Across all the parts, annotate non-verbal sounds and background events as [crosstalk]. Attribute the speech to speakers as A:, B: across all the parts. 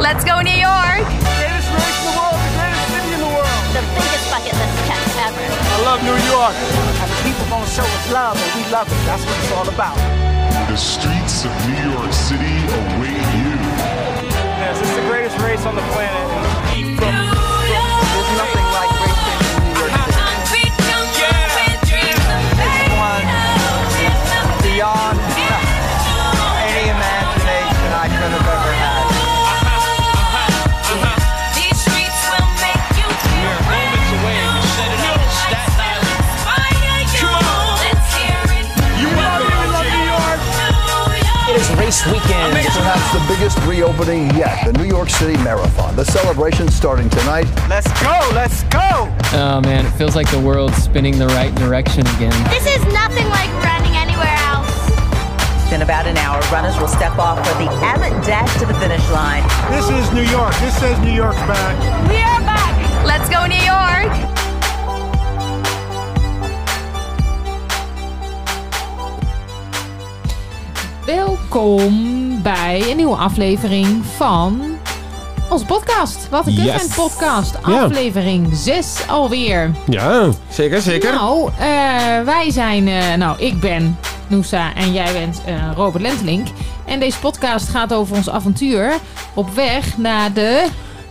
A: Let's go, New York!
B: Greatest race in the world, the greatest city in the world.
C: The biggest bucket list trip ever.
B: I love New York. And the people gonna show us love, and we love it. That's what it's all about.
D: The streets of New York City await you.
B: Yes, it's the greatest race on the planet. There's nothing like racing in New York City. This one is beyond any imagination I could have ever had.
E: It is race weekend.
F: Perhaps the biggest reopening yet, the New York City Marathon. The celebration starting tonight.
B: Let's go, let's go.
G: Oh man, it feels like the world's spinning the right direction again.
C: This is nothing like running anywhere else.
H: In about an hour, runners will step off for the Abbott Dash to the finish line.
I: This is New York. This says New York's back.
A: We are back! Let's go, New York!
J: Welkom bij een nieuwe aflevering van onze podcast. Wat een kut
K: Yes.
J: een podcast.
K: Ja.
J: Aflevering 6 alweer.
K: Ja, zeker, zeker.
J: Nou, eh, wij zijn... eh, nou, ik ben Noosa en jij bent eh, Robert Lentelink. En deze podcast gaat over ons avontuur op weg naar de...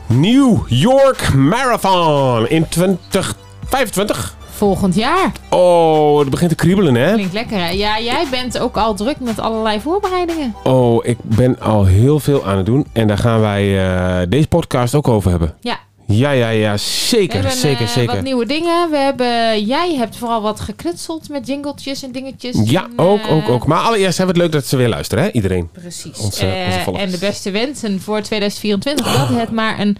K: New York Marathon in 2025.
J: Volgend jaar.
K: Oh, het begint te kriebelen, hè?
J: Klinkt lekker, hè? Ja, jij bent ook al druk met allerlei voorbereidingen.
K: Oh, ik ben al heel veel aan het doen. En daar gaan wij eh, deze podcast ook over hebben.
J: Ja.
K: Ja, ja, ja,
J: We
K: zeker,
J: hebben
K: zeker,
J: eh,
K: zeker.
J: wat nieuwe dingen. We hebben, jij hebt vooral wat geknutseld met jingeltjes en dingetjes.
K: ja,
J: En,
K: ook,
J: eh,
K: ook, ook. Maar allereerst hebben we het leuk dat ze weer luisteren, hè? Iedereen.
J: Precies.
K: Onze-
J: Eh,
K: onze volgers.
J: en de beste wensen voor 2024. Dat het maar een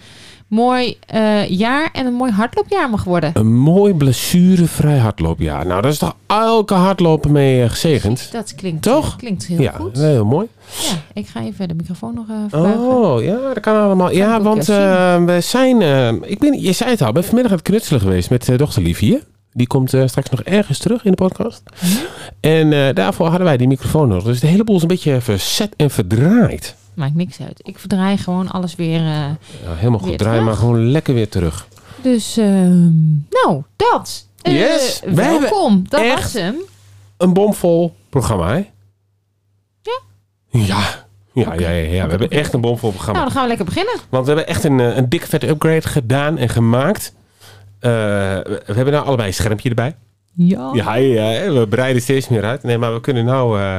J: mooi eh, jaar en een mooi hardloopjaar mag worden.
K: Een mooi blessurevrij hardloopjaar. Nou, daar is toch elke hardloper mee eh, gezegend?
J: Dat klinkt,
K: Toch?
J: klinkt heel
K: Ja,
J: goed.
K: heel mooi.
J: Ja, ik ga even de microfoon nog eh verbuigen.
K: Oh, ja, dat kan allemaal. Ja,
J: ook
K: want
J: wel
K: eh, we zijn... eh, ik ben, je zei het al, ik ben vanmiddag aan het knutselen geweest met eh, dochter Liefie. Die komt eh, straks nog ergens terug in de podcast. En eh, daarvoor hadden wij die microfoon nodig. Dus de hele boel is een beetje verzet en verdraaid.
J: Maakt niks uit. Ik verdraai gewoon alles weer. eh.
K: Ja, helemaal goed,
J: Weer
K: draai
J: terug?
K: maar gewoon lekker weer terug.
J: Dus, ehm, nou, dat. Eh,
K: Yes, we hebben
J: welkom. Dat
K: echt-
J: was hem.
K: Een bomvol programma, hè?
J: Ja.
K: Ja. Ja, ja, ja, ja, we hebben echt een bomvol programma.
J: Nou, dan gaan we lekker beginnen.
K: Want we hebben echt een, eh, een dik vette upgrade gedaan en gemaakt. Eh, we we hebben nou allebei een schermpje erbij.
J: Ja.
K: Ja, ja, ja, we breiden steeds meer uit. Nee, maar we kunnen nou... eh,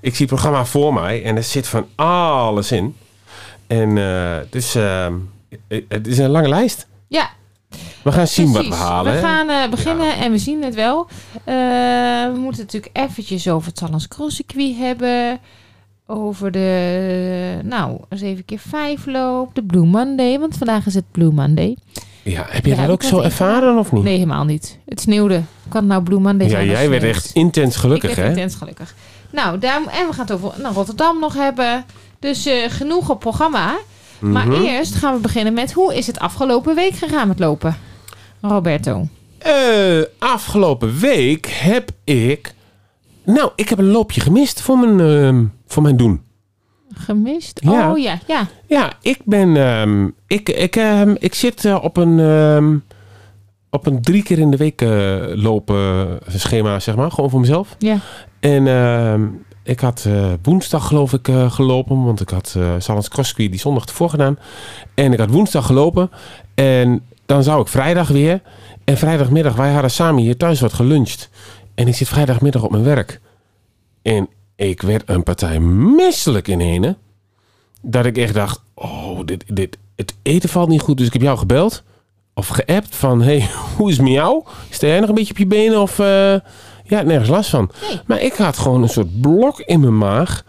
K: ik zie het programma voor mij en er zit van alles in. En eh, dus... eh, het is een lange lijst.
J: Ja,
K: We gaan zien wat
J: Precies.
K: we halen.
J: We
K: hè.
J: gaan eh, beginnen en we zien het wel. Eh, we moeten het natuurlijk eventjes over het Sallands Crosscircuit hebben. Over de, nou, eens even keer vijf loop. De Blue Monday, want vandaag is het Blue Monday.
K: Ja, heb je
J: Ja,
K: dat
J: ik
K: ook
J: had
K: zo
J: even-
K: ervaren of niet?
J: Nee, helemaal niet. Het sneeuwde. Kan het nou Blue Monday
K: ja,
J: zijn? als
K: jij
J: het
K: werd echt
J: sneeuwt?
K: intens gelukkig,
J: Ik
K: hè?
J: werd intens gelukkig. Nou, daar, en we gaan het over naar Rotterdam nog hebben. Dus eh, genoeg op programma. Maar
K: Mhm.
J: eerst gaan we beginnen met hoe is het afgelopen week gegaan met lopen? Roberto.
K: Eh, afgelopen week heb ik... Nou, ik heb een loopje gemist voor mijn, ehm, voor mijn doen.
J: Gemist?
K: Ja.
J: Oh ja, ja.
K: Ja, ik ben. ehm, ik, ik, ehm, ik zit eh, op een. ehm, op een drie keer in de week eh, lopen schema, zeg maar. Gewoon voor mezelf.
J: Ja.
K: En ehm, ik had eh, woensdag, geloof ik, eh, gelopen. Want ik had eh Salans Crossquay die zondag ervoor gedaan. En ik had woensdag gelopen. En dan zou ik vrijdag weer. En vrijdagmiddag, wij hadden samen hier thuis wat geluncht. En ik zit vrijdagmiddag op mijn werk. En ik werd een partij misselijk in Henen dat ik echt dacht: oh, dit, dit, het eten valt niet goed. Dus ik heb jou gebeld of geappt van: hey, [laughs] hoe is het met jou? Sta jij nog een beetje op je benen of eh, ja, nergens last van? Maar ik had gewoon een soort blok in mijn maag.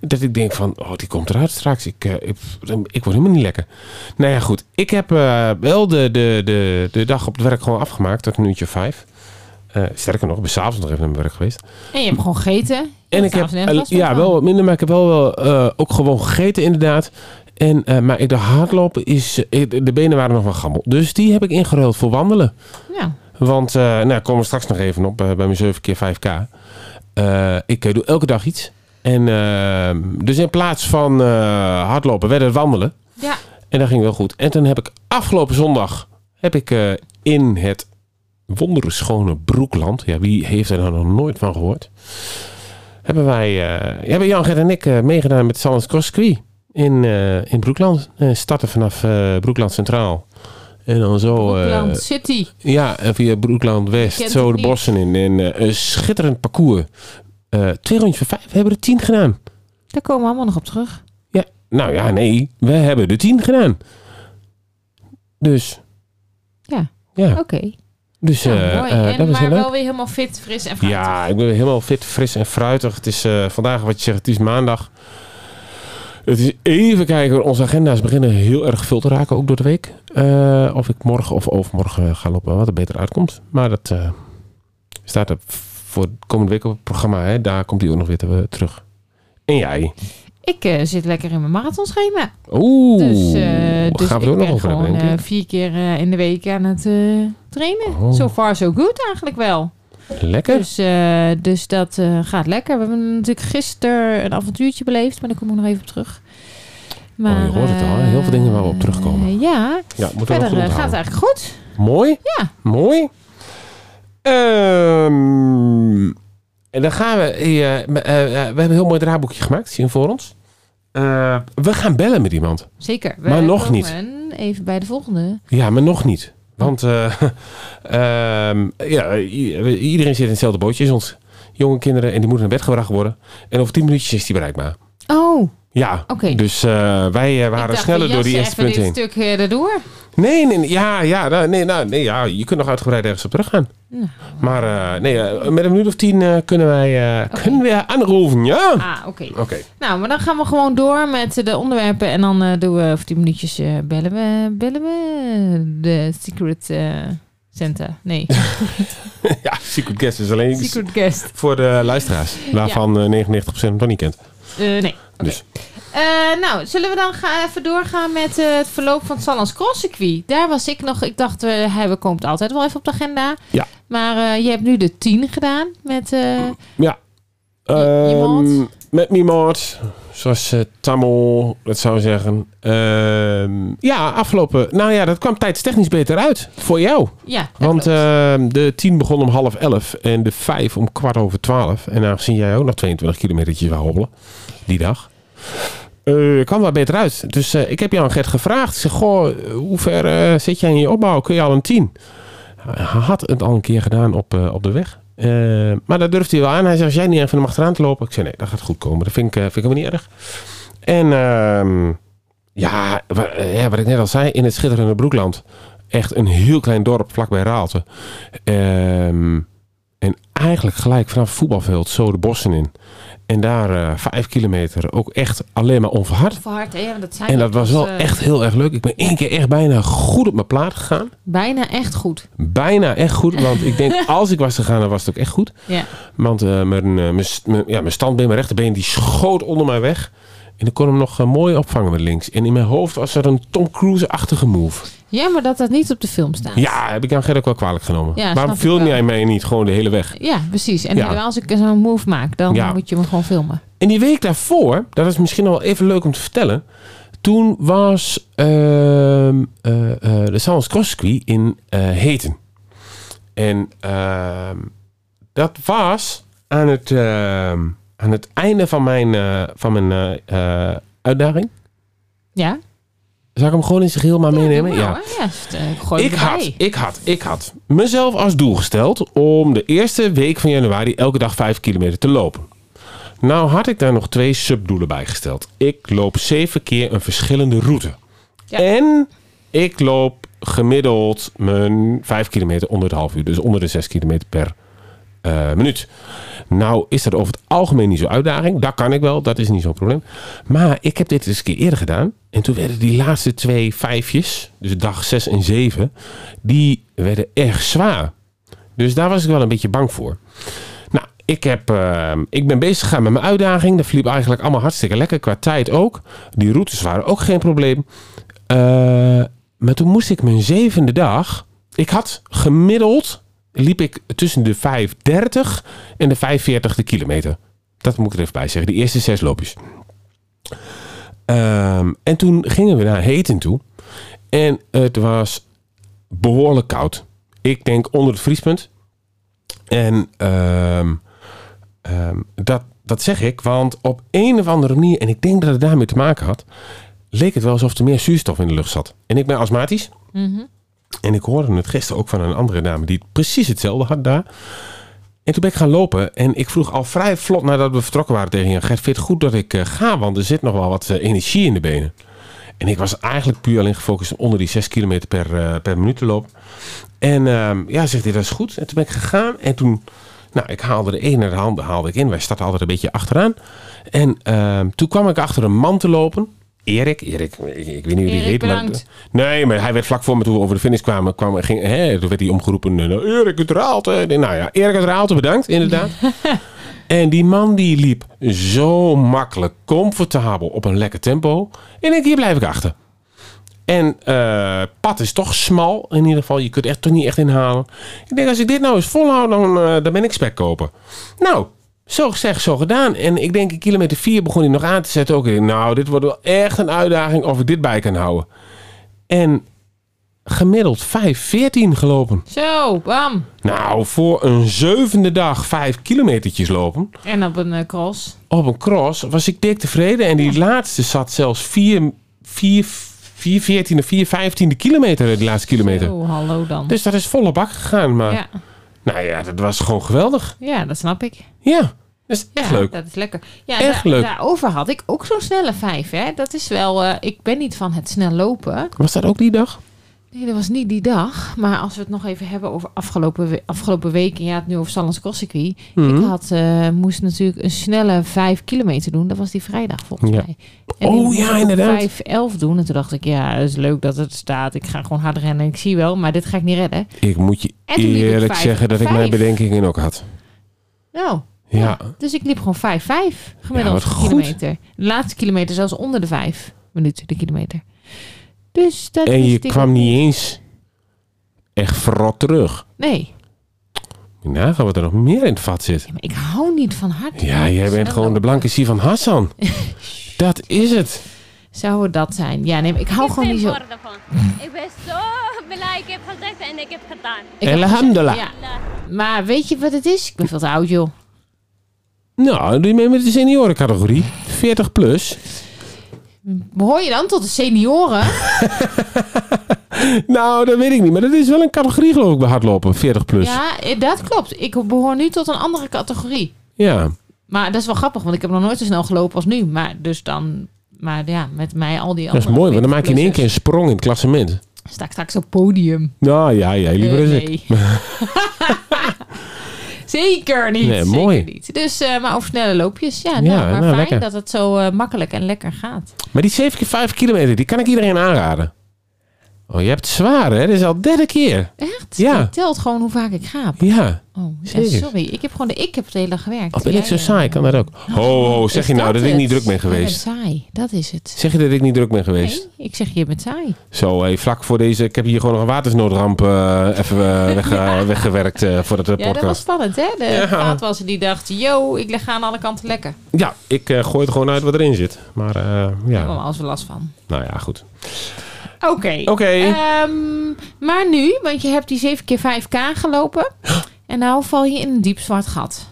K: Dat ik denk van, oh, die komt eruit straks. Ik, eh, ik, ik word helemaal niet lekker. Nou ja, goed. Ik heb eh, wel de, de, de, de dag op het werk gewoon afgemaakt. Tot een uurtje of vijf. Eh, sterker nog, ik ben s'avonds nog even naar mijn werk geweest.
J: En je hebt gewoon gegeten.
K: En ik heb eh, ja, wel wat minder, maar ik heb wel, wel eh, ook gewoon gegeten inderdaad. En, eh, maar ik dacht, hardlopen is... eh, de benen waren nog wel gammel. Dus die heb ik ingeruild voor wandelen.
J: Ja.
K: Want, eh nou, daar komen we straks nog even op eh, bij mijn 7 keer 5K. Eh, ik eh, doe elke dag iets. En, eh, dus in plaats van eh, hardlopen werd het wandelen.
J: ja.
K: En dat ging wel goed. En toen heb ik afgelopen zondag heb ik, eh, in het wonderschone Broekland. Ja, wie heeft er nou nog nooit van gehoord? Hebben wij, eh, hebben Jan, Gert en ik eh, meegedaan met Salons Crossquis in, eh, in Broekland. Eh, starten vanaf eh, Broekland Centraal. En dan zo... eh,
J: Broekland City.
K: ja, en via Broekland West,
J: kent
K: zo
J: het
K: de
J: niet.
K: bossen in. En eh, een schitterend parcours. Eh, twee rondjes van vijf, we hebben er tien gedaan.
J: Daar komen we allemaal nog op terug.
K: Ja, nou ja, nee, we hebben er tien gedaan. Dus,
J: Ja,
K: ja.
J: oké.
K: Dus,
J: Nou,
K: eh,
J: mooi.
K: eh,
J: en,
K: dat was
J: maar
K: heel
J: wel
K: leuk.
J: weer helemaal fit, fris en fruitig.
K: Ja, ik ben weer helemaal fit, fris en fruitig. Het is eh, vandaag, wat je zegt, het is maandag. Het is even kijken, onze agenda's beginnen heel erg veel te raken, ook door de week. Eh, of ik morgen of overmorgen eh, ga lopen, wat er beter uitkomt. Maar dat eh, staat er voor komende week op het programma. Hè. Daar komt hij ook nog weer te- eh, terug. En jij?
J: Ik eh, zit lekker in mijn marathonschema.
K: Oeh,
J: Dus, eh dus
K: gaan we
J: ik
K: er ook nog
J: ben
K: over hebben,
J: gewoon
K: denk
J: eh, vier keer eh, in de week aan het eh, trainen.
K: Oh.
J: So far so good eigenlijk wel.
K: ik. Lekker.
J: Dus, eh, dus dat eh, gaat lekker. We hebben natuurlijk gisteren een avontuurtje beleefd, maar daar kom ik nog even op terug.
K: Oh, je hoort het al, hè? Heel veel dingen waar we op
J: eh,
K: terugkomen.
J: ja,
K: ja, moeten we nog
J: verder
K: goed
J: eh, gaat het
K: onthouden.
J: eigenlijk goed.
K: Mooi.
J: Ja.
K: Mooi. Ehm, en dan gaan we. eh, eh, we hebben een heel mooi draaiboekje gemaakt, zien voor ons. Eh, we gaan bellen met iemand.
J: Zeker. We
K: Maar nog
J: komen Even bij de volgende.
K: Ja, maar nog niet. Want eh, [laughs] ehm, ja, i- iedereen zit in hetzelfde bootje als ons. Jonge kinderen en die moeten naar bed gebracht worden. En over tien minuutjes is die bereikbaar.
J: Oh, ik
K: Ja,
J: Oké.
K: dus eh, wij eh, waren
J: dacht,
K: sneller
J: we
K: door die
J: jassen
K: eerste
J: even
K: punt
J: dit
K: heen.
J: stuk eh, erdoor.
K: Nee, nee, nee, ja, ja, nou, nee, nou, nee, ja, je kunt nog uitgebreid ergens op teruggaan.
J: Nou.
K: Maar eh, nee, eh, met een minuut of tien eh, kunnen wij eh, kunnen we aanroeven, ja?
J: Ah, oké.
K: Oké,
J: Nou, maar dan gaan we gewoon door met eh, de onderwerpen. En dan eh, doen we over 10 minuutjes eh, bellen we, bellen we de Secret eh Center. Nee,
K: [laughs] ja, Secret Guest is alleen iets
J: Secret Guest.
K: voor de luisteraars, waarvan eh, 99% het nog niet kent.
J: Eh, nee.
K: Dus,
J: Eh, nou, zullen we dan ga even doorgaan met eh, het verloop van het Sallands Cross Circuit? Daar was ik nog. Ik dacht, we hij we komt altijd wel even op de agenda.
K: Ja.
J: Maar eh, je hebt nu de 10 gedaan met... eh,
K: ja.
J: I- iemand?
K: Ehm, met niemand, zoals eh, Tammo dat zou zeggen. Ehm, ja, afgelopen, nou ja, dat kwam tijdstechnisch beter uit voor jou.
J: ja, dat
K: Want
J: klopt.
K: ehm, de 10 begon om half 11 en de 5 om kwart over 12. En aangezien jij ook nog 22 kilometertjes wou hobbelen die dag, eh, kwam dat beter uit. Dus eh, ik heb jou aan Gert gevraagd. Ik zeg, goh, hoe ver eh, zit jij in je opbouw? Kun je al een 10? Hij had het al een keer gedaan op, eh, op de weg. Eh, maar dat durfde hij wel aan. Hij zei, als jij niet even hem achteraan te lopen. Ik zei, nee, dat gaat goed komen. Dat vind ik, eh, vind ik helemaal niet erg. En ehm, ja, wa- eh, ja, wat ik net al zei, in het schitterende Broekland. Echt een heel klein dorp vlakbij Raalte. Ehm, en eigenlijk gelijk vanaf het voetbalveld zo de bossen in. En daar eh, vijf kilometer ook echt alleen maar onverhard.
J: Verhard, hè? Ja, dat zijn dus, eh,
K: En dat was wel echt heel erg leuk. Ik ben één keer echt bijna goed op mijn plaat gegaan.
J: Bijna echt goed.
K: Bijna echt goed. Want ik
J: [laughs]
K: denk, als ik was gegaan, dan was het ook echt goed.
J: Ja.
K: Want eh, mijn, eh, mijn, st- mijn- ja, mijn standbeen, mijn rechterbeen, die schoot onder mij weg. En ik kon hem nog eh, mooi opvangen met links. En in mijn hoofd was er een Tom Cruise-achtige move.
J: Jammer dat dat niet op de film staat.
K: Ja, heb ik aan Gerrit ook wel kwalijk genomen.
J: Ja, snap
K: Waarom
J: ik
K: film
J: wel.
K: jij mij niet gewoon de hele weg?
J: Ja, precies. En
K: Ja.
J: als ik zo'n move maak, dan
K: Ja.
J: moet je me gewoon filmen.
K: En die week daarvoor, dat is misschien nog wel even leuk om te vertellen. Toen was ehm, eh, eh, de Salons Cross Circuit in eh, Heten. En ehm, dat was aan het, ehm, aan het einde van mijn, eh, van mijn eh, eh, uitdaging.
J: Ja?
K: Zal ik hem gewoon in zijn geheel maar meenemen?
J: Nou, hè? Ja, st- eh, gooi
K: Ik
J: hem erbij.
K: had, ik had, ik had mezelf als doel gesteld om de eerste week van januari elke dag 5 kilometer te lopen. Nou had ik daar nog twee subdoelen bij gesteld. Ik loop zeven keer een verschillende route.
J: Ja.
K: En ik loop gemiddeld mijn 5 kilometer onder het half uur. Dus onder de 6 kilometer per eh, minuut. Nou is dat over het algemeen niet zo'n uitdaging. Dat kan ik wel, dat is niet zo'n probleem. Maar ik heb dit eens een keer eerder gedaan. En toen werden die laatste twee vijfjes, dus dag 6 en 7, die werden erg zwaar. Dus daar was ik wel een beetje bang voor. Nou, ik, heb, eh, ik ben bezig gegaan met mijn uitdaging. Dat verliep eigenlijk allemaal hartstikke lekker, qua tijd ook. Die routes waren ook geen probleem. Eh, maar toen moest ik mijn zevende dag. Ik had gemiddeld liep ik tussen de 5,30 en de 5,40 de kilometer. Dat moet ik er even bij zeggen. De eerste zes loopjes. Ehm, en toen gingen we naar Heten toe. En het was behoorlijk koud. Ik denk onder het vriespunt. En ehm, ehm, dat, dat zeg ik, want op een of andere manier, en ik denk dat het daarmee te maken had, leek het wel alsof er meer zuurstof in de lucht zat. En ik ben astmatisch. En ik hoorde het gisteren ook van een andere dame die precies hetzelfde had daar. En toen ben ik gaan lopen en ik vroeg al vrij vlot nadat we vertrokken waren tegen je. Gert, vind je het goed dat ik eh, ga? Want er zit nog wel wat eh, energie in de benen. En ik was eigenlijk puur alleen gefocust om onder die 6 kilometer per, eh, per minuut te lopen. En ehm, ja, zegt hij, dat is goed. En toen ben ik gegaan en toen... Nou, ik haalde de ene hand haalde ik in. Wij starten altijd een beetje achteraan. En ehm, toen kwam ik achter een man te lopen. Erik, Erik, ik, ik weet niet hoe die
J: Erik,
K: heet.
J: bedankt.
K: Maar, nee, maar hij werd vlak voor me toen we over de finish kwamen. Kwam, ging, hè, toen werd hij omgeroepen. eh, nou, Erik het Raalte. Ik denk, Nou ja, Erik het Raalte, bedankt, inderdaad. En die man die liep zo makkelijk, comfortabel, op een lekker tempo. En ik, hier blijf ik achter. En eh pad is toch smal in ieder geval. Je kunt echt toch niet echt inhalen. Ik denk, als ik dit nou eens volhoud, dan, eh, dan ben ik spekkoper. Nou, zo gezegd, zo gedaan. En ik denk, in kilometer 4 begon hij nog aan te zetten. Ook ik denk, nou, dit wordt wel echt een uitdaging of ik dit bij kan houden. En gemiddeld 5.14 gelopen.
J: Zo, bam.
K: Nou, voor een zevende dag vijf kilometertjes lopen
J: En op een eh, cross.
K: op een cross was ik dik tevreden. En die laatste zat zelfs 4, 4, 4 14 of 4, 15 kilometer, die laatste kilometer.
J: Zo, hallo dan.
K: Dus dat is volle bak gegaan. Maar
J: ja.
K: nou ja, dat was gewoon geweldig.
J: ja, dat snap ik.
K: Ja, dat is
J: Ja,
K: echt leuk.
J: dat is lekker. Ja,
K: Echt
J: daar-
K: leuk.
J: Daarover had ik ook zo'n snelle vijf. Hè? Dat is wel... eh, ik ben niet van het snel lopen.
K: Was dat ook die dag?
J: Nee, dat was niet die dag. Maar als we het nog even hebben over afgelopen, we- afgelopen week... en ja, het nu over Sallands Crosscircuit.
K: Mhm.
J: Ik had, eh, moest natuurlijk een snelle vijf kilometer doen. Dat was die vrijdag volgens
K: Ja.
J: mij.
K: Oh,
J: ik moest
K: ja,
J: ook
K: inderdaad.
J: vijf elf doen. En toen dacht ik, ja, dat is leuk dat het staat. Ik ga gewoon hard rennen. Ik zie wel, maar dit ga ik niet redden.
K: Ik moet je
J: En toen liep ik
K: eerlijk
J: vijf-
K: zeggen dat ik mijn
J: vijf.
K: bedenkingen ook had.
J: Nou,
K: Ja.
J: Dus ik liep gewoon 5-5 gemiddeld
K: Ja, wat goed.
J: kilometer. De laatste kilometer zelfs onder de 5 minuten de kilometer. Dus dat
K: En je
J: wist ik
K: kwam
J: ook
K: niet eens echt verrot terug.
J: Nee,
K: Nou, gaan we er nog meer in het vat zit.
J: ja, maar ik hou niet van hard.
K: Ja, jij bent gewoon de blanke Sie van
J: [laughs]
K: Hassan. Dat is het.
J: Zou het dat zijn? Ja, nee, maar ik hou gewoon niet zo.
C: Ik ben zo blij. Ik heb gezegd en ik heb gedaan.
J: Ik heb
K: Elhamdulillah.
J: Ja, maar weet je wat het is? Ik ben veel te oud, joh.
K: Nou, doe je mee met de seniorencategorie. 40 plus.
J: Behoor je dan tot de senioren?
K: [laughs] Nou, dat weet ik niet. Maar dat is wel een categorie geloof ik bij hardlopen. 40 plus. Ja.
J: Ja, eh, dat klopt. Ik behoor nu tot een andere categorie. Maar dat is wel grappig, want ik heb nog nooit zo snel gelopen als nu. Maar dus dan, maar ja, met mij al die
K: Dat
J: andere.
K: is mooi. Want dan maak je in één keer een sprong in het klassement.
J: Sta ik straks op podium.
K: Nou ja, ja liever is
J: Eh,
K: ik.
J: nee.
K: [laughs]
J: zeker niet.
K: Nee,
J: zeker
K: mooi.
J: Niet. Dus, eh, maar over snelle loopjes. Ja, nou,
K: Ja,
J: maar
K: nou,
J: fijn
K: lekker.
J: dat het zo eh, makkelijk en lekker gaat.
K: Maar die 7 keer 5 kilometer, die kan ik iedereen aanraden. Oh, je hebt het zwaar, hè? Dit is al de derde keer.
J: Echt?
K: Ja.
J: Je telt gewoon hoe vaak ik gaap.
K: Ja.
J: Oh, ja,
K: Zeker.
J: sorry. Ik heb gewoon de ik heb de hele dag gewerkt.
K: Al ben
J: Jij,
K: ik zo
J: eh,
K: saai, kan dat ook. Ho, ho, zeg
J: is
K: je nou dat ik
J: het?
K: niet druk ben
J: Jij bent
K: geweest?
J: saai, dat is het.
K: Zeg je dat ik niet druk ben geweest?
J: Nee, ik zeg je bent saai.
K: Zo, hey, vlak voor deze... Ik heb hier gewoon nog een watersnoodramp eh, even eh,
J: [laughs]
K: weg, eh, weggewerkt eh, voor dat eh,
J: Ja, dat was
K: podcast.
J: spannend, hè? De
K: Ja.
J: vaatwasser die dacht, yo, ik leg aan alle kanten lekker.
K: Ja, ik eh, gooi het gewoon uit wat erin zit. Maar eh,
J: Daar
K: ja,
J: kwam alles wel last van.
K: nou ja, goed.
J: Oké.
K: Oké.
J: Ehm, maar nu, want je hebt die 7 keer 5K gelopen. En nou val je in een diep zwart gat.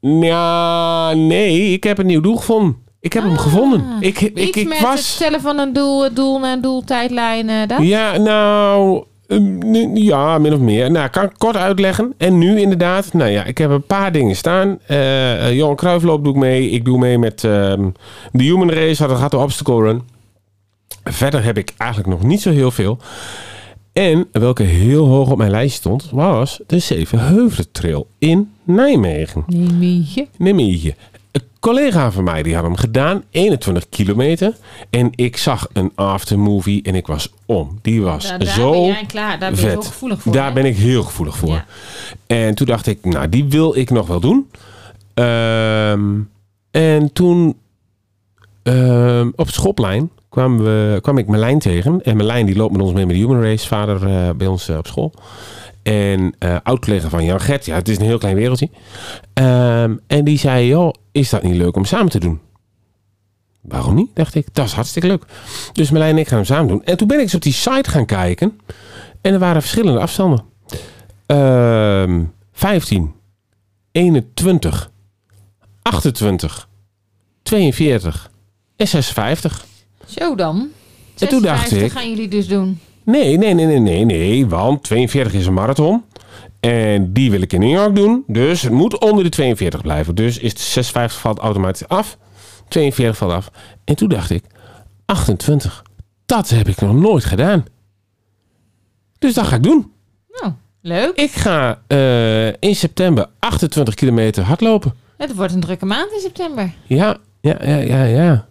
K: Ja, nee, ik heb een nieuw doel gevonden. Ik heb hem gevonden. Ik, ik,
J: Ah,
K: ik,
J: Iets met het
K: was...
J: stellen van een doel, het doel naar een doel, tijdlijn, eh, dat.
K: Ja, nou... ehm, nu- Ja, min of meer. Nou, kan ik kort uitleggen. En nu inderdaad. Nou ja, ik heb een paar dingen staan. Eh eh, Johan Cruijffloop doe ik mee. Ik doe mee met ehm, de Human Race. Dat gaat de Obstacle Run. Verder heb ik eigenlijk nog niet zo heel veel. En welke heel hoog op mijn lijst stond, was de Zevenheuvelen Trail in Nijmegen.
J: Nee, mietje.
K: Nijmegen. Een collega van mij die had hem gedaan, 21 kilometer. En ik zag een aftermovie en ik was om. Die was
J: Daar, daar
K: zo
J: ben jij klaar. Daar ben je
K: vet.
J: heel gevoelig voor.
K: Daar
J: hè?
K: ben ik heel gevoelig voor.
J: Ja.
K: En toen dacht ik, nou, die wil ik nog wel doen. Ehm, en toen ehm, op het schoplijn kwam, we, kwam ik Merlijn tegen. En Merlijn die loopt met ons mee met de Human Race, vader eh, bij ons eh, op school. En eh oud-collega van Jan Gert, ja, het is een heel klein wereldje. Ehm, en die zei, joh, is dat niet leuk om samen te doen?
L: waarom niet? Dacht ik, dat is hartstikke leuk. Dus Merlijn en ik gaan hem samen doen. En toen ben ik eens op die site gaan kijken. En er waren verschillende afstanden. Ehm 15, 21, 28, 42 en 56.
K: Zo dan.
L: En toen dacht
K: 56
L: ik-
K: gaan jullie dus doen.
L: Nee, nee, nee, nee, nee, nee. Want 42 is een marathon. En die wil ik in New York doen. Dus het moet onder de 42 blijven. Dus is de 56 valt automatisch af. 42 valt af. En toen dacht ik, 28. Dat heb ik nog nooit gedaan. Dus dat ga ik doen.
K: Nou, leuk.
L: Ik ga eh, in september 28 kilometer hardlopen.
K: Het wordt een drukke maand in september.
L: Ja, ja, ja, ja, ja.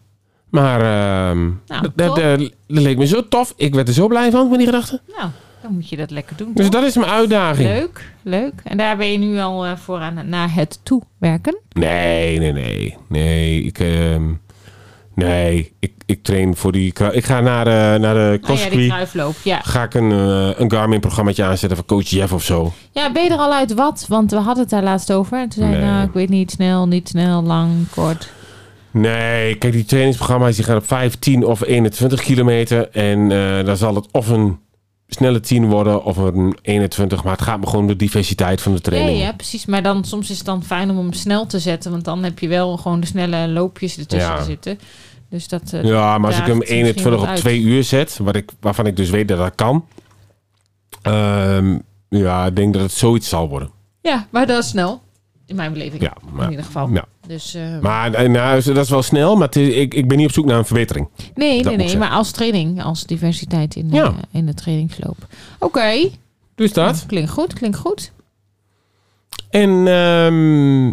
L: Maar ehm,
K: Nou,
L: dat- dat,
K: top.
L: eh, dat leek me zo tof. Ik werd er zo blij van, van die gedachte.
K: Nou, dan moet je dat lekker doen.
L: Dus
K: toch?
L: dat is mijn uitdaging.
K: Leuk, leuk. En daar ben je nu al eh, voor aan naar het toewerken.
L: Nee, nee, nee. Nee, ik, ehm, nee, ik, ik train voor die... kru- Ik ga naar de, naar de
K: Oh ja, die
L: crosscreet.
K: kruifloop, ja.
L: Ga ik een, eh, een Garmin-programmaatje aanzetten van coach Jeff of zo.
K: Ja, ben je er al uit wat? Want we hadden het daar laatst over. En toen zei je,
L: Nee.
K: nou, ik weet niet, snel, niet snel, lang, kort.
L: Nee, kijk, die trainingsprogramma's die gaan op 5, 10 of 21 kilometer. En eh, dan zal het of een snelle 10 worden of een 21. Maar het gaat me gewoon om de diversiteit van de
K: Nee,
L: training.
K: ja, precies. Maar dan soms is het dan fijn om hem snel te zetten. Want dan heb je wel gewoon de snelle loopjes ertussen
L: Ja.
K: zitten. Dus dat... eh,
L: Ja, maar als ik
K: daagt
L: hem
K: misschien
L: 21
K: wat
L: op
K: uit.
L: 2 uur zet, wat ik, waarvan ik dus weet dat dat kan. ehm, ja, ik denk dat het zoiets zal worden.
K: Ja, maar dat is snel. In mijn beleving.
L: Ja, maar-
K: in ieder geval.
L: ja.
K: Dus, eh,
L: Maar eh, nou, dat is wel snel, maar het is- ik, ik ben niet op zoek naar een verbetering.
K: nee,
L: dat
K: nee,
L: moet
K: nee.
L: zijn.
K: Maar als training, als diversiteit in, de-
L: Ja.
K: in de trainingsloop. Oké.
L: Dus dat.
K: Klinkt goed, klinkt goed.
L: En ehm,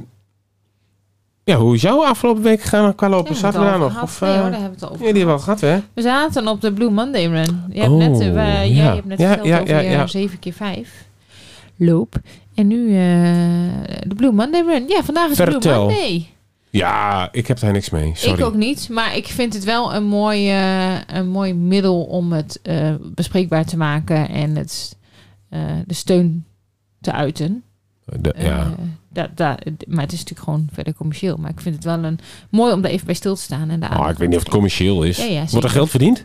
L: ja, hoe is jouw afgelopen week gegaan qua lopen?
K: Ja,
L: Zaten
K: we
L: we
K: het
L: daar nog?
K: al gehad?
L: Of,
K: nee hoor,
L: eh,
K: daar hebben we het al
L: ja,
K: over.
L: die hebben we al gehad, hè?
K: We zaten op de Blue Monday Run. Je hebt
L: Oh,
K: net, eh, wij-
L: ja.
K: Jij hebt net
L: Ja,
K: verteld
L: ja,
K: over
L: ja,
K: je
L: ja.
K: 7 keer 5 loop. En nu eh, de Blue Monday Run. Ja, vandaag is de Blue
L: Vertel.
K: Monday.
L: Ja, ik heb daar niks mee. Sorry.
K: Ik ook niet, maar ik vind het wel een mooi, eh, een mooi middel om het eh, bespreekbaar te maken en het, eh, de steun te uiten.
L: De-
K: Eh,
L: ja.
K: da, da- maar het is natuurlijk gewoon verder commercieel. Maar ik vind het wel een, mooi om daar even bij stil te staan. En daar
L: Ah, ik weet niet of het commercieel is.
K: Ja, ja,
L: Wordt
K: zeker.
L: er geld verdiend?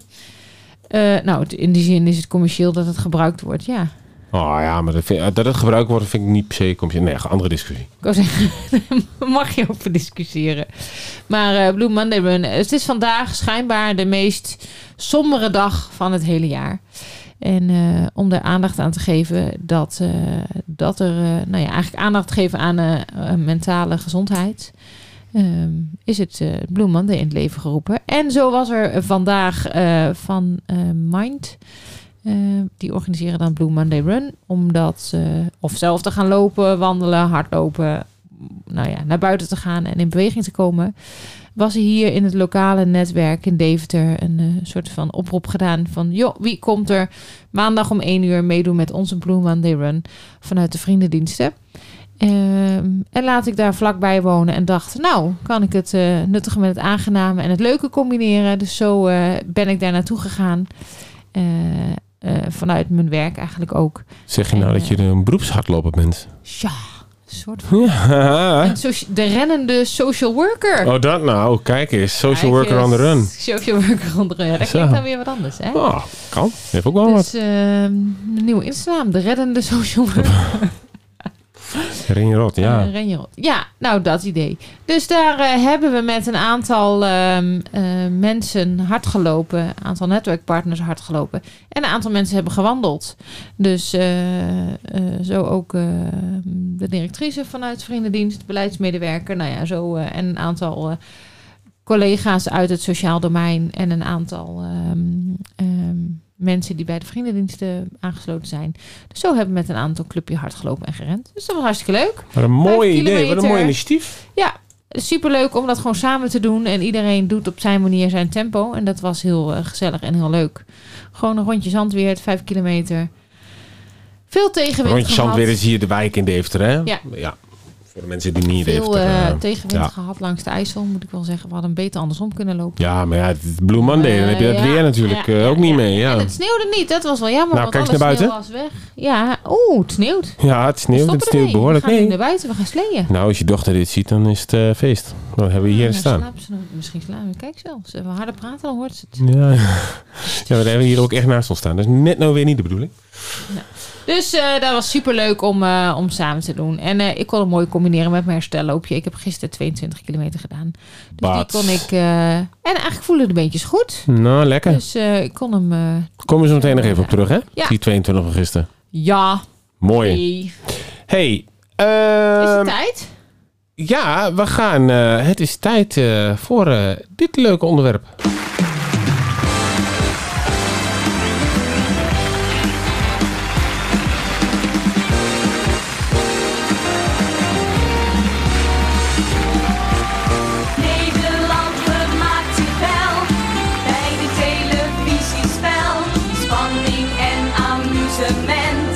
K: Eh, nou, het- in die zin is het commercieel dat het gebruikt wordt, ja.
L: Oh ja, maar dat, vind- dat het gebruikt wordt vind ik niet per se commercieel. Nee, andere discussie.
K: Ik wou zeggen, [laughs] daar mag je over discussiëren. Maar eh, Blue Monday Run, eh, het is vandaag schijnbaar de meest sombere dag van het hele jaar. En eh, om daar aandacht aan te geven dat, eh, dat er, eh, nou ja, eigenlijk aandacht geven aan eh, eh, mentale gezondheid. ehm, is het eh Blue Monday in het leven geroepen. En zo was er vandaag eh, van eh, Mind. Eh, die organiseren dan Blue Monday Run. Omdat ze of zelf te gaan lopen, wandelen, hardlopen. Nou ja, naar buiten te gaan en in beweging te komen. Was er hier in het lokale netwerk in Deventer een eh, soort van oproep gedaan. Van joh, wie komt er maandag om 1 uur meedoen met onze Blue Monday Run vanuit de vriendendiensten. Ehm, en laat ik daar vlakbij wonen en dacht, nou, kan ik het eh, nuttige met het aangename en het leuke combineren. Dus zo eh, ben ik daar naartoe gegaan. Eh, eh, vanuit mijn werk eigenlijk ook. eh,
L: Zeg je nou dat je een beroepshardloper bent?
K: Ja, een soort van een socia- de rennende social worker.
L: Oh, dat nou. Kijk eens. Social
K: Kijk
L: worker on the
K: eens,
L: run.
K: Social worker on the run. Ja, dat
L: Zo.
K: klinkt dan weer wat anders, hè?
L: Oh, kan. Heeft ook wel wat.
K: Dus ehm, een nieuwe Instagram, de reddende social worker.
L: Ring rot, ja.
K: Eh, Renjerot. Ja, nou dat idee. Dus daar eh, hebben we met een aantal ehm, eh, mensen hard gelopen. Een aantal netwerkpartners hard gelopen. En een aantal mensen hebben gewandeld. Dus eh, eh, zo ook eh, de directrice vanuit Vriendendienst, beleidsmedewerker. Nou ja, zo eh, en een aantal eh, collega's uit het sociaal domein. En een aantal ehm, ehm, mensen die bij de Vriendendiensten aangesloten zijn. Dus zo hebben we met een aantal clubje hard gelopen en gerend. Dus dat was hartstikke leuk.
L: Wat een mooi
K: Vijf
L: idee. Wat een
K: kilometer.
L: mooi initiatief.
K: Ja, superleuk om dat gewoon samen te doen. En iedereen doet op zijn manier zijn tempo. En dat was heel eh, gezellig en heel leuk. Gewoon een rondje zandweert, vijf kilometer. Veel tegenwind
L: Rondje
K: gehad.
L: Zandweer is hier de wijk in Deventer, hè?
K: Ja.
L: ja.
K: Voor de mensen die niet
J: Veel
K: heeft.
J: eh,
K: eh,
J: tegenwind
K: ja.
J: gehad langs de IJssel, moet ik wel zeggen. We hadden hem beter andersom kunnen lopen.
K: Ja, maar ja, het is Blue Monday, dan heb je dat
J: Eh, ja,
K: weer natuurlijk
J: ja,
K: eh,
J: ja,
K: ook niet
J: ja.
K: mee. Ja,
J: En het sneeuwde niet, dat was wel jammer.
K: Nou,
J: want
K: kijk
J: alle
K: eens naar
J: sneeuw
K: buiten.
J: was weg. Ja, oeh, het sneeuwt.
K: ja het sneeuwt, het
J: Stop ermee.
K: sneeuwt behoorlijk.
J: We gaan nu
K: Nee.
J: naar buiten, we gaan sleeën.
K: Nou, als je dochter dit ziet, dan is het eh, feest. Dan hebben we hier
J: Ja,
K: staan.
J: slaap ze nog- misschien slapen. Kijk zo, als we harder praten, dan hoort ze het.
K: Ja, [laughs] ja, maar dan hebben we hier ook echt naast ons staan. Dat is net nou weer niet de bedoeling.
J: Dus eh, dat was super leuk om, eh, om samen te doen. En eh, ik kon het mooi combineren met mijn herstelloopje. Ik heb gisteren 22 kilometer gedaan. Dus
K: Bats.
J: die kon ik. eh, en eigenlijk voelen de beentjes goed.
K: Nou, lekker.
J: Dus eh, ik kon hem. eh,
K: Komen we zo meteen nog even op terug, hè?
J: Ja.
K: Die 22 van gisteren.
J: ja,
K: Mooi.
J: nee. is
K: Hey,
J: het
K: ehm,
J: tijd?
K: ja, we gaan. eh, het is tijd eh, voor eh, dit leuke onderwerp.
A: Nederland, we maakt het wel. Bij de televisiespel. Spanning en amusement.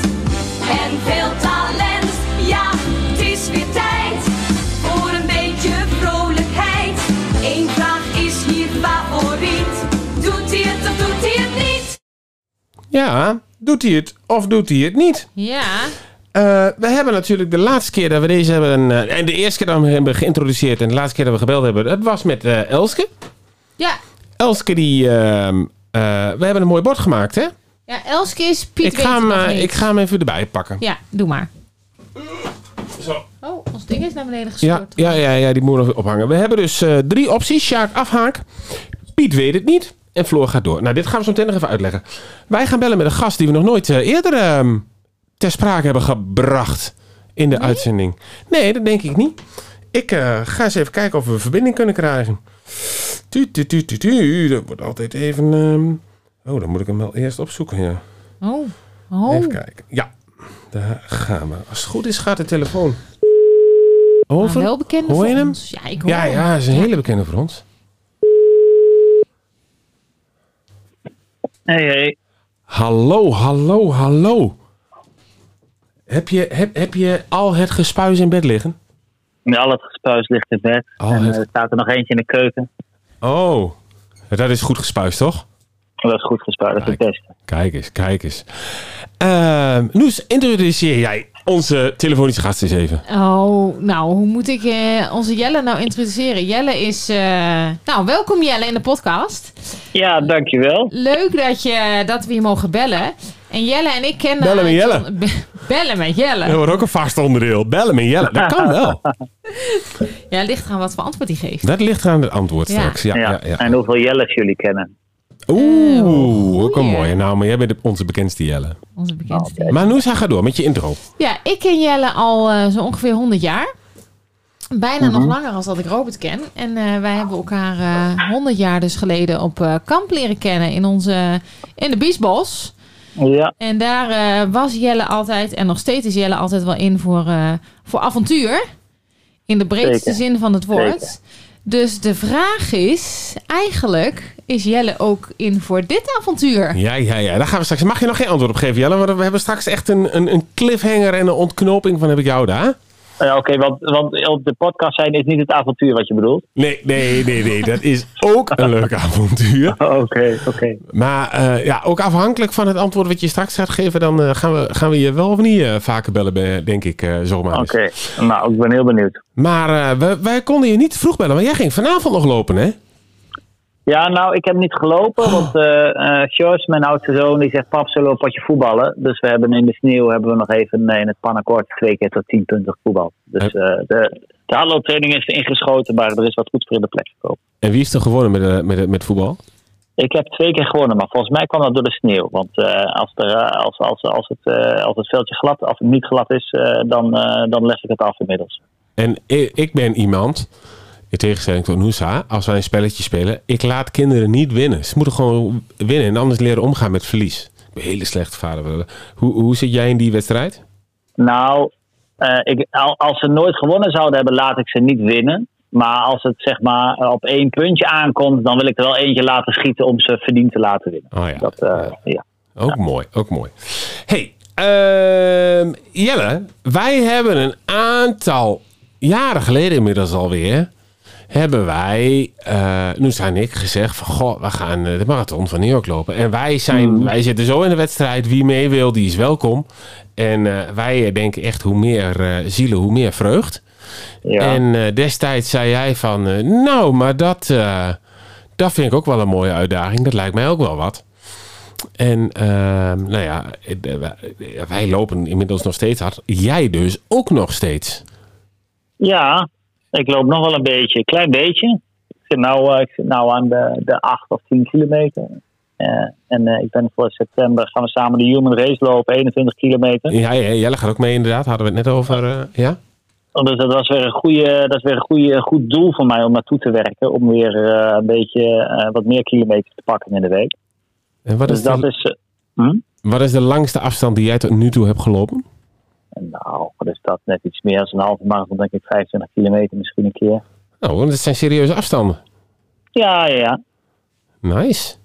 A: En veel talent. Ja, het is weer tijd. Voor een beetje vrolijkheid. Eén vraag is hier favoriet. Doet hij het of doet hij het niet?
K: Ja, doet hij het of doet hij het niet?
J: Ja.
K: Eh, we hebben natuurlijk de laatste keer dat we deze hebben. eh, en de eerste keer dat we hem hebben geïntroduceerd en de laatste keer dat we gebeld hebben, dat was met eh, Elske.
J: Ja.
K: Elske, die. ehm, eh, we hebben een mooi bord gemaakt, hè?
J: Ja, Elske is Piet.
K: Ik
J: weet
K: ga,
J: het
K: hem,
J: nog
K: eh,
J: niet.
K: ik ga hem even erbij pakken.
J: Ja, doe maar.
K: Zo.
J: Oh, ons ding is naar beneden
K: Ja,
J: gestort.
K: ja, ja, ja, die moet nog ophangen. We hebben dus eh, drie opties. Sjaak afhaak. Piet weet het niet. En Floor gaat door. Nou, dit gaan we zo meteen nog even uitleggen. Wij gaan bellen met een gast die we nog nooit eh, eerder ehm, ter sprake hebben gebracht in de uitzending. Nee, dat denk ik niet. Ik eh, ga eens even kijken of we een verbinding kunnen krijgen. Tu, tu, tu, tu, tu. Dat wordt altijd even... ehm, Oh, dan moet ik hem wel eerst opzoeken, ja.
J: Oh, oh.
K: Even kijken. Ja, daar gaan we. Als het goed is, gaat de telefoon. Over.
J: Maar Nou, wel bekende
K: Hoor je
J: voor
K: hem?
J: ons. Ja, ik hoor
K: Ja,
J: hem.
K: ja, is een hele bekende voor ons.
B: Hey, hey.
K: Hallo, hallo, hallo. Heb je, heb, heb je al het gespuis in bed liggen?
B: Nu al het gespuis ligt in bed.
K: Al
B: en
K: het-
B: eh, er staat er nog eentje in de keuken.
K: Oh, dat is goed gespuis, toch?
B: Dat is goed gespuis, dat is het
K: Kijk.
B: beste.
K: Kijk eens, kijk eens. Ehm Noes, introduceer jij onze telefonische gast eens even.
J: Oh, nou, hoe moet ik eh, onze Jelle nou introduceren? Jelle is... eh, Nou, welkom Jelle in de podcast.
B: Ja, dankjewel.
J: Leuk dat, je, dat we je mogen bellen. En Jelle en ik kennen...
K: Bellen met Jelle.
J: Be- eh, bellen met
K: Dat
J: Jelle.
K: wordt ook een vast onderdeel. Bellen met Jelle, dat
B: [laughs]
K: kan wel.
J: Ja, het ligt eraan wat voor antwoord hij geeft.
K: Dat ligt aan het antwoord
J: Ja.
K: straks. Ja,
B: Ja.
K: ja, ja.
B: En hoeveel Jelles jullie kennen.
K: Oeh, ook een
J: Oh, goeie.
K: mooie naam. Maar jij bent onze bekendste Jelle.
J: Onze bekendste.
K: Maar Noesa, ga door met je intro.
J: Ja, ik ken Jelle al eh, zo ongeveer 100 jaar. Bijna nog langer als dat ik Robert ken. En eh, wij hebben elkaar eh 100 jaar dus geleden op eh, kamp leren kennen in, onze, in de Biesbos.
B: Ja,
J: En daar eh, was Jelle altijd, en nog steeds is Jelle altijd wel in voor, eh, voor avontuur. In de breedste
B: Zeker.
J: zin van het woord.
B: Zeker.
J: Dus de vraag is, eigenlijk is Jelle ook in voor dit avontuur?
K: Ja, ja, ja. Daar gaan we straks. Mag je nog geen antwoord op geven, Jelle? Want we hebben straks echt een, een, een cliffhanger en een ontknoping van heb ik jou daar.
B: ja Eh, oké, want, want op de podcast zijn is niet het avontuur wat je bedoelt.
K: Nee, nee, nee, nee. Dat is ook een leuk avontuur.
B: Oké, oké.
K: Maar eh, ja, ook afhankelijk van het antwoord wat je straks gaat geven, dan eh, gaan, we, gaan we je wel of niet eh, vaker bellen, eh, denk ik, eh, zomaar. eens.
B: Oké, nou, ik ben heel benieuwd.
K: Maar eh, we- wij konden je niet vroeg bellen, maar jij ging vanavond nog lopen, hè?
B: Ja, nou, ik heb niet gelopen, want eh eh, George, mijn oudste zoon, die zegt, pap, zullen we een potje voetballen? Dus we hebben in de sneeuw hebben we nog even eh, in het pannenkoord twee keer tot tien punten voetbal. Dus eh de, de hallo-training is ingeschoten, maar er is wat goed voor in de plek gekomen.
K: En wie is er gewonnen met, eh, met, met voetbal?
B: Ik heb twee keer gewonnen, maar volgens mij kwam dat door de sneeuw. Want eh, als, er, eh, als, als, als, het, eh, als het veldje glad, als het niet glad is, eh, dan, eh, dan leg ik het af inmiddels.
K: En i- ik ben iemand, in tegenstelling tot Noosa, als wij een spelletje spelen, ik laat kinderen niet winnen. Ze moeten gewoon winnen en anders leren omgaan met verlies. Ik ben een hele slechte vader. Hoe, hoe zit jij in die wedstrijd?
B: Nou, eh, ik, al- als ze nooit gewonnen zouden hebben, laat ik ze niet winnen. Maar als het zeg maar op één puntje aankomt, dan wil ik er wel eentje laten schieten om ze verdiend te laten winnen.
K: Oh ja.
B: Dat, eh, ja.
K: Ook mooi, ook mooi. hey, ehm, Jelle, wij hebben een aantal jaren geleden inmiddels alweer, hebben wij, eh nu zijn ik, gezegd van, goh, we gaan eh, de marathon van New York lopen. En wij, zijn,
B: Mm.
K: wij zitten zo in de wedstrijd, wie mee wil, die is welkom. En eh, wij eh, denken echt, hoe meer eh, zielen, hoe meer vreugd.
B: Ja.
K: En eh, destijds zei jij van, eh, nou, maar dat, eh, dat vind ik ook wel een mooie uitdaging. Dat lijkt mij ook wel wat. En ehm, nou ja, eh, wij- wij lopen inmiddels nog steeds hard. Jij dus ook nog steeds.
B: Ja, ik loop nog wel een beetje, een klein beetje. Ik zit nou, eh, ik zit nou aan de, de 8 of 10 kilometer. Eh, en eh, ik ben voor september, gaan we samen de Human Race lopen, 21 kilometer.
K: Ja, ja, Jelle gaat ook mee inderdaad. Hadden we het net over. eh, ja?
B: Dus dat was weer een, goede, dat is weer een goede, goed doel voor mij om naartoe te werken. Om weer eh, een beetje eh, wat meer kilometers te pakken in de week.
K: En wat
B: Dus
K: is,
B: dat
K: de,
B: is, eh, hm?
K: wat is de langste afstand die jij tot nu toe hebt gelopen?
B: nou, wat is dat net iets meer als een halve marathon, denk ik 25 kilometer misschien een keer.
K: Nou, want het zijn serieuze afstanden.
B: Ja, ja, ja.
K: Nice.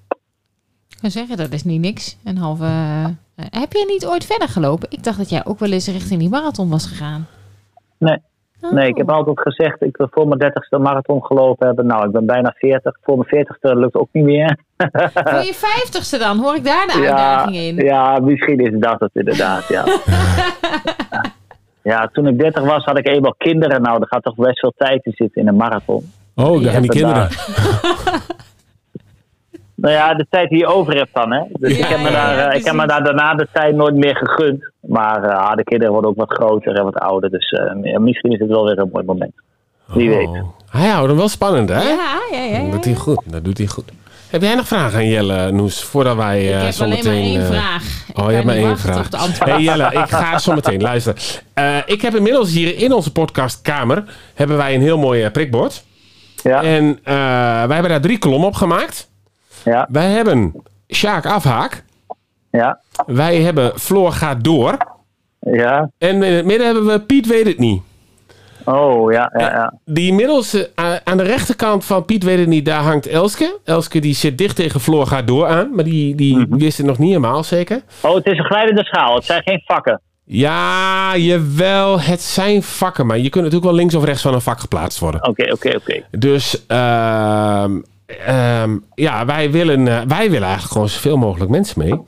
J: Ik kan zeggen, dat is niet niks. Een halve... eh, heb jij niet ooit verder gelopen? Ik dacht dat jij ook wel eens richting die marathon was gegaan.
B: Nee.
J: Oh.
B: Nee, ik heb altijd gezegd, ik wil voor mijn 30ste marathon gelopen hebben. Nou, ik ben bijna 40. Voor mijn 40ste lukt ook niet meer.
J: Voor je vijftigste dan, hoor ik daar de
B: Ja,
J: uitdaging in.
B: ja, misschien is dat het inderdaad, ja. ja, toen ik 30 was had ik eenmaal kinderen. Nou, er gaat toch best veel tijd in zitten in een marathon.
K: Oh, daar gaan die
B: Ja,
K: kinderen.
B: vandaar. Nou ja, de tijd die je over hebt dan, hè. Dus ik,
J: Ja,
B: heb me
J: ja,
B: daar,
J: ja,
B: eh, ik heb me daar
J: precies.
B: daarna de tijd nooit meer gegund. Maar eh, ah, de kinderen worden ook wat groter en wat ouder. Dus eh, misschien is het wel weer een mooi moment. Wie weet.
K: Oh. Hij houdt hem wel spannend, hè?
J: Ja, ja, ja.
K: Dat doet hij goed. Dat doet hij goed. Heb jij nog vragen aan Jelle, Noes, voordat wij
J: Ik
K: eh,
J: heb alleen maar
K: zometeen...
J: één
K: eh,
J: vraag. Ik
K: Oh,
J: kan
K: je hebt maar
J: niet
K: één
J: wachten
K: vraag.
J: op de antwoord.
K: Hey Jelle, ik ga zo meteen luisteren. Eh, ik heb inmiddels hier in onze podcastkamer hebben wij een heel mooi eh, prikbord.
B: Ja,
K: En eh, wij hebben daar drie kolommen op gemaakt.
B: ja,
K: Wij hebben Sjaak Afhaak.
B: ja,
K: Wij hebben Floor gaat door.
B: ja.
K: En in het midden hebben we Piet weet het niet.
B: Oh, ja, ja, ja.
K: Die inmiddels eh, a- aan de rechterkant van Piet weet het niet, daar hangt Elske. Elske die zit dicht tegen Floor gaat door aan. Maar die, die wist het nog niet helemaal zeker.
B: Mhm. Oh, het is een glijdende schaal. Het zijn geen vakken.
K: Ja, jawel, het zijn vakken. Maar je kunt natuurlijk wel links of rechts van een vak geplaatst worden.
B: Oké, oké, oké.
K: Dus ehm, ehm, ja, wij willen, eh, wij willen eigenlijk gewoon zoveel mogelijk mensen mee.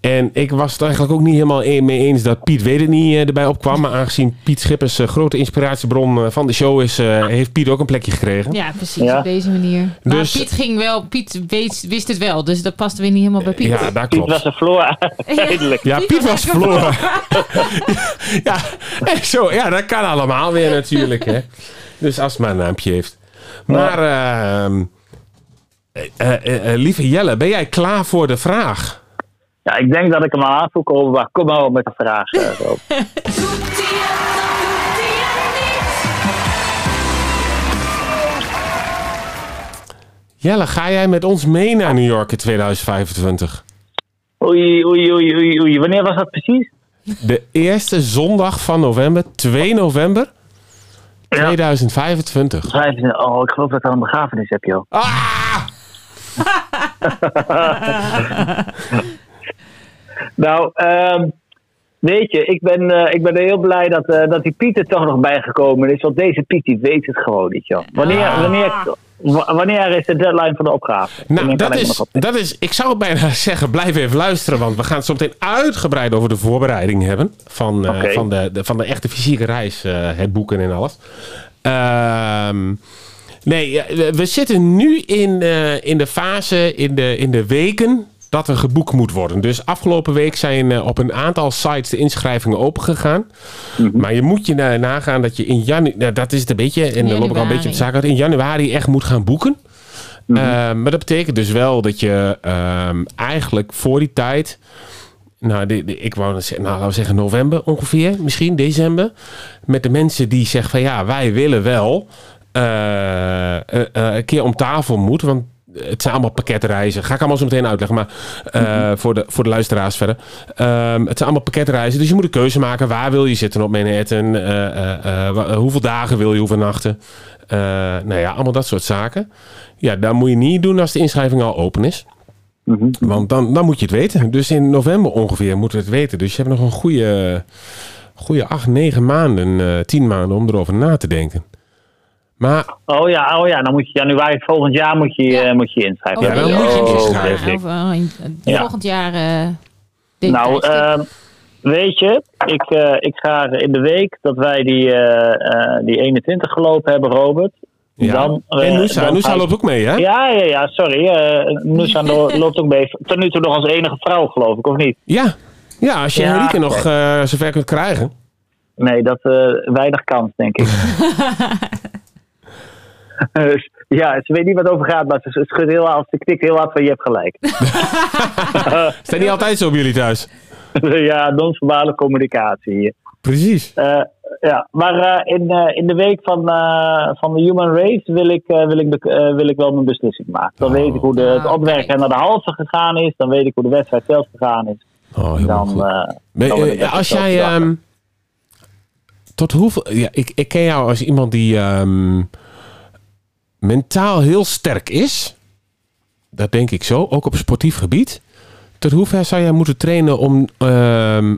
K: En ik was het eigenlijk ook niet helemaal een- mee eens dat Piet Weet het niet eh, erbij opkwam. Maar aangezien Piet Schippers eh, grote inspiratiebron eh, van de show is, eh, heeft Piet ook een plekje gekregen.
J: Ja, precies,
B: Ja.
J: op deze manier. Maar
K: Dus-
J: Piet, ging wel, Piet weet, wist het wel, dus dat paste weer niet helemaal bij Piet.
K: Ja, daar
B: Piet was
K: klopt.
B: een
J: [laughs]
B: floor. Eindelijk.
K: Ja, Piet was verloren. [laughs] ja, en zo, ja, dat kan allemaal weer natuurlijk. Hè. Dus als het maar een naampje heeft. Maar ehm, eh, eh, eh, eh, lieve Jelle, ben jij klaar voor de vraag?
B: Ja, ik denk dat ik hem aan voel komen, maar kom maar op met de vraag. eh, Rob.
A: Doet hij het, dan doet hij het niet.
K: Jelle, ga jij met ons mee naar New York in 2025?
B: Oei, oei, oei, oei, oei. Wanneer was dat precies?
K: De eerste zondag van november, 2 november 2025.
B: 25. Oh, ik geloof dat ik al een begrafenis heb, joh.
K: Ah!
B: [laughs] Nou, ehm, weet je, ik ben, eh, ik ben heel blij dat, eh, dat die Piet er toch nog bijgekomen is. Want deze Piet, die weet het gewoon niet, joh. Wanneer,
K: Ah.
B: wanneer, wa- wanneer is de deadline van de opgave?
K: Nou,
B: Wanneer kan
K: dat
B: ik hem nog
K: is,
B: op-
K: dat is. Ik zou bijna [laughs] zeggen: blijf even luisteren. Want we gaan het zo meteen uitgebreid over de voorbereiding hebben. Van, eh,
B: Oké.
K: van, de, de- van de echte fysieke reis, eh, het boeken en alles. Ehm, nee, ja, we- we zitten nu in, eh, in de fase, in de, in de weken. Dat er geboekt moet worden. Dus afgelopen week zijn eh, op een aantal sites de inschrijvingen opengegaan. Maar je moet je na- nagaan dat je in januari. Nou, dat is het een beetje. En dan loop ik al een beetje op de zaak uit. In januari echt moet gaan boeken. Ehm, maar dat betekent dus wel dat je ehm, eigenlijk voor die tijd. Nou, de- de- ik wou net zeggen, nou, laten we zeggen november ongeveer, misschien december. Met de mensen die zeggen van ja, wij willen wel eh, eh, eh, een keer om tafel moet. Want het zijn allemaal pakketreizen. Ga ik allemaal zo meteen uitleggen. Maar eh, voor, de, voor de luisteraars verder. Ehm, het zijn allemaal pakketreizen. Dus je moet een keuze maken. Waar wil je zitten op Manhattan? Eh, eh, eh, wa- hoeveel dagen wil je? Hoeveel nachten? Eh, nou ja, allemaal dat soort zaken. Ja, dat moet je niet doen als de inschrijving al open is. Want dan, dan moet je het weten. Dus in november ongeveer moeten we het weten. Dus je hebt nog een goede, goede acht, negen maanden, eh, tien maanden om erover na te denken. Maar
B: Oh ja, oh ja, dan moet je januari volgend jaar moet je, eh, moet je inschrijven.
K: Ja, dan
J: een
K: moet je
J: jaar,
K: inschrijven.
B: Dick.
J: over een jaar, over een-
B: Ja.
J: Volgend jaar. eh, dit
B: Nou,
J: tijdstip.
B: ehm, weet je, ik, eh, ik ga in de week dat wij die, eh, eh, die 21 gelopen hebben, Robert.
K: ja.
B: Dan, eh,
K: en Noosa,
B: dan ga
K: Noosa
B: ik-
K: loopt ook mee, hè?
B: Ja, ja, ja, sorry. eh
K: [laughs]
B: Noosa lo- loopt ook mee. Tot nu toe nog als enige vrouw, geloof ik, of niet?
K: Ja, ja als je
B: Ja.
K: Henrike nog eh, zover kunt krijgen.
B: Nee, dat eh, weinig kans, denk
K: [laughs]
B: ik. Dus, ja, ze weet niet wat het over gaat, maar ze, ze schudt heel hard, ze knikt heel hard van je hebt
K: [laughs]
B: gelijk.
K: Zijn niet altijd zo bij jullie thuis?
B: [laughs] ja, non-verbale communicatie hier.
K: Precies.
B: Eh, ja, maar eh, in, eh, in de week van, eh, van de Human Race wil ik, eh, wil, ik de- eh, wil ik wel mijn beslissing maken. Dan weet ik hoe de, het
J: Ah,
B: opwerken naar de halve gegaan is. Dan weet ik hoe de wedstrijd zelf gegaan is.
K: Oh, helemaal
B: Dan,
K: goed.
B: eh,
K: Ben-
B: dan wil ik
K: eh,
B: dat
K: als
B: zelf
K: jij.
B: bedachten.
K: ehm, tot hoeveel. Ja, ik, ik ken jou als iemand die ehm, mentaal heel sterk is. Dat denk ik zo, ook op sportief gebied. Tot hoever zou jij moeten trainen om, ehm,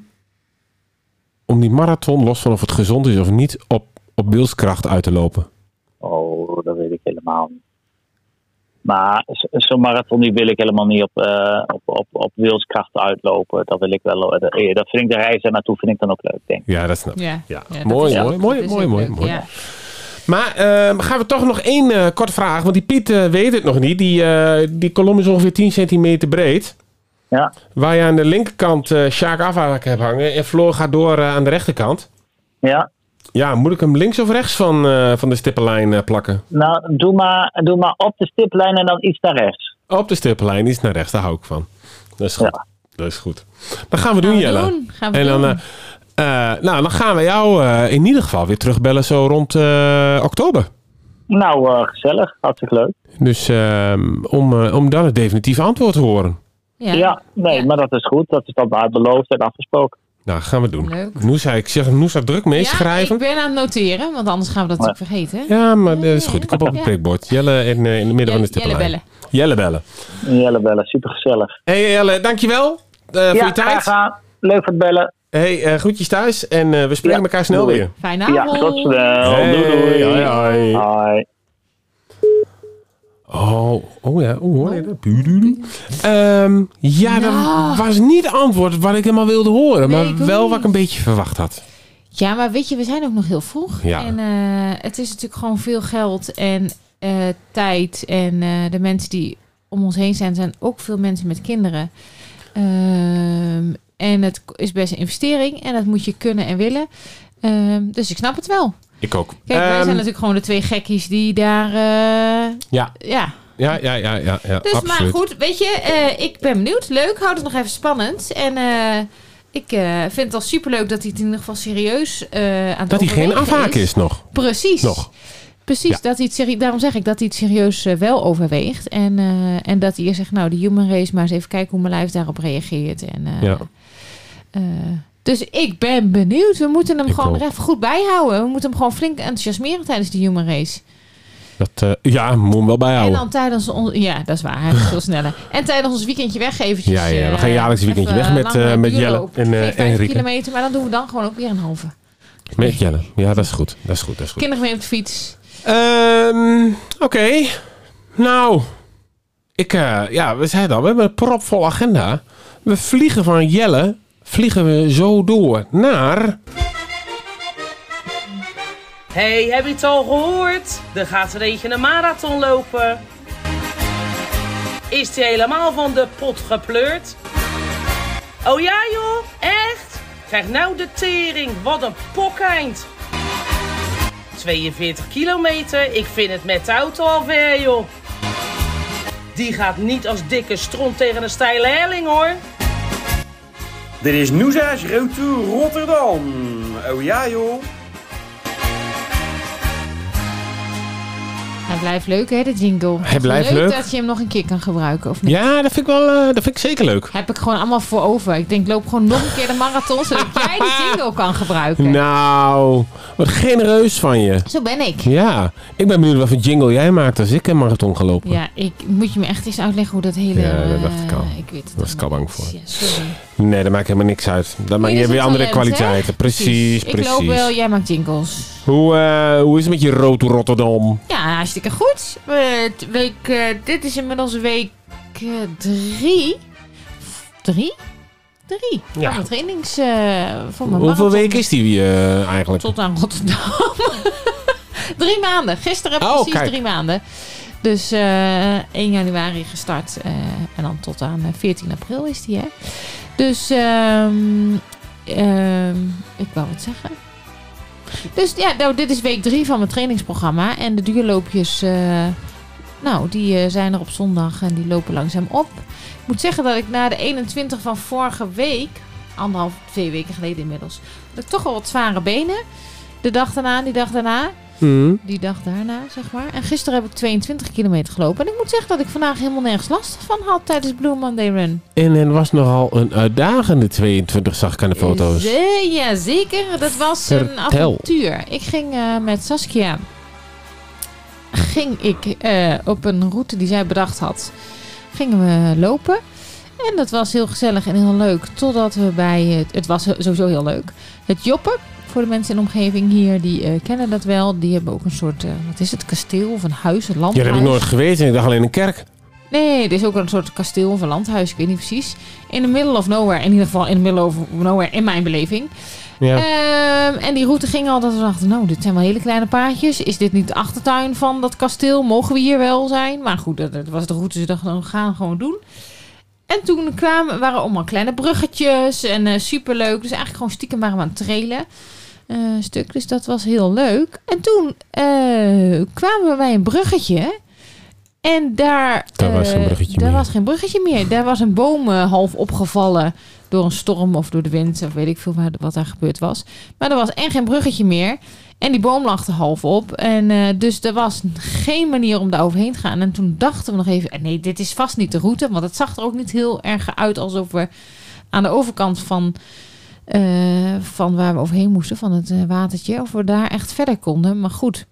K: om die marathon, los van of het gezond is of niet, op, op wilskracht uit te lopen?
B: Oh, dat weet ik helemaal niet. Maar zo- zo'n marathon die wil ik helemaal niet op, eh, op, op, op wilskrachten uitlopen. Dat, wil ik wel, dat, eh, dat vind ik de reis daar naartoe vind ik dan ook leuk, denk ik.
K: Ja, dat snap ik.
J: ja.
K: Ja.
J: dat
K: Mooi,
J: is ook-
K: mooi, mooi,
J: dat is
K: mooi,
J: ook
K: mooi,
J: leuk,
K: mooi.
J: Dus eh, ja.
K: Maar ehm, gaan we toch nog één eh, kort vraag. Want die Piet eh, weet het nog niet. Die, eh, die kolom is ongeveer 10 centimeter breed.
B: Ja.
K: Waar je aan de linkerkant eh Sjaak Afhaak hebt hangen. En Floor gaat door eh, aan de rechterkant.
B: ja.
K: Ja, moet ik hem links of rechts van, eh, van de stippenlijn eh, plakken?
B: Nou, doe maar, doe maar op de stiplijn en dan iets naar rechts.
K: Op de stippenlijn, iets naar rechts. Daar hou ik van. Dat is goed.
B: Ja.
K: Dat is goed. Dat gaan we doen,
J: we
K: Jelle.
J: doen, gaan we
K: en dan,
J: doen.
K: eh, eh, nou, dan gaan we jou eh, in ieder geval weer terugbellen zo rond eh, oktober.
B: Nou, eh, gezellig. Hartstikke leuk.
K: Dus ehm, om, eh, om dan het definitieve antwoord te horen.
J: Ja.
B: Ja, nee,
J: Ja.
B: maar dat is goed. Dat is dan maar beloofd en afgesproken.
K: Nou, gaan we doen.
J: Leuk.
K: Noosa, ik zeg Noosa druk
J: Ja,
K: meeschrijven.
J: ik ben aan het noteren, want anders gaan we
B: Ja.
J: dat natuurlijk vergeten.
K: Ja, maar dat is goed. Ik op op
J: Ja.
K: het prikbord. Jelle in, eh, in het midden van de
J: Jelle- Jelle
K: stippelijn. Jelle bellen.
B: Jelle bellen, super gezellig.
K: hey, Jelle, dankjewel eh, voor je tijd.
B: Leuk voor het bellen.
K: hey, eh, groetjes thuis en eh, we spreken
B: Ja,
K: elkaar snel
B: doei.
K: weer.
J: Fijne
B: Ja,
J: avond.
B: tot snel. doei, doei.
K: Hey, hoi, hoi.
B: Hoi.
K: Oh, oh ja, oh, hoor je dat? Puududu. Ehm, ja, dat was niet het antwoord wat ik helemaal wilde
J: Nee,
K: horen, maar
J: ik ook
K: wel
J: niet.
K: wat ik een beetje verwacht had.
J: Ja, maar weet je, we zijn ook nog heel vroeg.
K: Ja.
J: En eh, het is natuurlijk gewoon veel geld en eh, tijd. En eh, de mensen die om ons heen zijn, zijn ook veel mensen met kinderen. Ehm, en het k- is best een investering. En dat moet je kunnen en willen. Ehm, dus ik snap het wel.
K: Ik ook.
J: Kijk, wij
K: Ehm,
J: zijn natuurlijk gewoon de twee gekkies die daar... eh,
K: ja,
J: ja,
K: ja, ja, ja, ja, ja
J: dus
K: absoluut.
J: maar goed, weet je, eh, ik ben benieuwd. Leuk, houd het nog even spannend. En eh, ik eh, vind het al superleuk dat hij het in ieder geval serieus eh, aan het
K: Dat hij geen
J: overwegen
K: afhaak is nog.
J: Precies.
K: Nog.
J: Precies,
K: Ja.
J: dat hij het serie- daarom zeg ik dat hij het serieus eh, wel overweegt. En, eh, en dat hij eerst zegt, nou, die human race, maar eens even kijken hoe mijn lijf daarop reageert. En, eh,
K: Ja.
J: eh, dus ik ben benieuwd. We moeten hem
K: Ik
J: gewoon
K: ook.
J: nog even goed bijhouden. We moeten hem gewoon flink enthousiasmeren tijdens die human race.
K: Dat, eh, ja, moet hem wel
J: En
K: bijhouden.
J: dan tijdens ons... Ja, dat is waar. Hij is veel sneller. En tijdens ons weekendje weg eventjes.
K: Ja, ja, we
J: eh,
K: gaan jaarlijks een weekendje
J: even
K: weg met,
J: langer
K: eh, met
J: duurloop.
K: Jelle en, eh,
J: Geen
K: en
J: vijf
K: Rieke.
J: kilometer, maar dan doen we dan gewoon ook weer een halve.
K: Met Jelle. Ja, dat is goed. Dat is goed. Dat is goed.
J: Kinderen mee op de fiets.
K: Ehm, Oké. Nou, ik, eh, ja, we zeiden al, we hebben een propvol agenda. We vliegen van Jelle, vliegen we zo door naar.
M: Hey, heb je het al gehoord? Er gaat er eentje een marathon lopen. Is die helemaal van de pot gepleurd? Oh ja joh, echt? Krijg nou de tering, wat een pokkeind. 42 kilometer, ik vind het met de auto al ver joh. Die gaat niet als dikke stront tegen een steile helling hoor.
E: Dit is Noosa's Road to Rotterdam. Oh ja joh.
J: Hij blijft leuk, hè, de jingle.
K: Hij blijft leuk.
J: dat je hem nog een keer kan gebruiken, of niet?
K: Ja, dat vind ik wel, eh, dat vind ik zeker leuk.
J: Heb ik gewoon allemaal voor over. Ik denk, loop gewoon nog een keer de marathon,
K: [laughs]
J: zodat jij die jingle kan gebruiken.
K: Nou, wat genereus van je.
J: Zo ben ik.
K: Ja, ik ben benieuwd wat voor jingle jij maakt als ik een marathon ga lopen.
J: Ja, ik moet je me echt eens uitleggen hoe dat hele...
K: Ja, dat
J: eh,
K: dacht ik al.
J: Ik weet het
K: was ik al
J: allemaal
K: bang voor.
J: niet. Ja, sorry.
N: Nee, dat maakt helemaal niks uit. Dan maak
K: Nee,
N: je hebt
K: dat is
N: weer
K: een
N: andere
K: talent, hè?
N: kwaliteiten. Precies,
K: Ik loop
N: precies.
K: wel, jij maakt jingles.
N: Hoe, eh, hoe is het met je rood Rotterdam?
K: Ja, hartstikke goed. Eh, week, eh, dit is inmiddels week eh, drie. Drie? Drie.
N: Ja.
K: Van de trainings eh van
N: Hoeveel
K: mijn marathon
N: weken is die eh, eigenlijk?
K: Tot aan Rotterdam. [laughs] drie maanden. Gisteren
N: Oh,
K: precies
N: kijk.
K: drie maanden. Dus eh 1 januari gestart. eh, en dan tot aan eh, 14 april is die, hè? Dus ehm, ehm, ik wou wat zeggen. Dus ja, nou, dit is week 3 van mijn trainingsprogramma. En de duurloopjes, eh, nou, die eh, zijn er op zondag en die lopen langzaam op. Ik moet zeggen dat ik na de 21 van vorige week, anderhalf, twee weken geleden inmiddels, had ik toch al wat zware benen. De dag daarna, die dag daarna,
N: Mhm.
K: die dag daarna, zeg maar. En gisteren heb ik 22 kilometer gelopen. En ik moet zeggen dat ik vandaag helemaal nergens last van had tijdens Blue Monday Run.
N: En er was nogal een uitdagende 22, zag ik aan de foto's.
K: Ze- ja, zeker. Dat was een
N: Vertel.
K: avontuur. Ik ging eh, met Saskia. Ging ik eh, op een route die zij bedacht had. Gingen we lopen. En dat was heel gezellig en heel leuk. Totdat we bij het. Het was sowieso heel leuk. Het Joppen. Voor de mensen in de omgeving hier, die eh, kennen dat wel. Die hebben ook een soort. eh, wat is het? Kasteel of een huis, een
N: Ja,
K: landhuis.
N: dat heb ik nooit geweten. Ik dacht alleen een kerk.
K: Nee, er is ook een soort kasteel of een landhuis, ik weet niet precies. In the middle of nowhere, in ieder geval in the middle of nowhere, in mijn beleving.
N: Ja.
K: Ehm, en die route ging al dat we dachten, nou, dit zijn wel hele kleine paadjes. Is dit niet de achtertuin van dat kasteel? Mogen we hier wel zijn? Maar goed, dat, dat was de route, ze dachten, nou, we gaan gewoon doen. En toen kwamen, waren allemaal kleine bruggetjes en eh, superleuk. Dus eigenlijk gewoon stiekem waren we aan het trailen. eh, stuk, dus dat was heel leuk. En toen eh, kwamen we bij een bruggetje. En daar,
N: Daar was
K: eh,
N: geen bruggetje
K: daar
N: meer.
K: was geen bruggetje meer. Daar was een boom eh, half opgevallen door een storm of door de wind. Of weet ik veel waar- wat daar gebeurd was. Maar er was en geen bruggetje meer. En die boom lag er half op. En eh, dus er was geen manier om daar overheen te gaan. En toen dachten we nog even, eh, nee, dit is vast niet de route. Want het zag er ook niet heel erg uit alsof we aan de overkant van, eh, van waar we overheen moesten, van het eh, watertje, of we daar echt verder konden. Maar goed,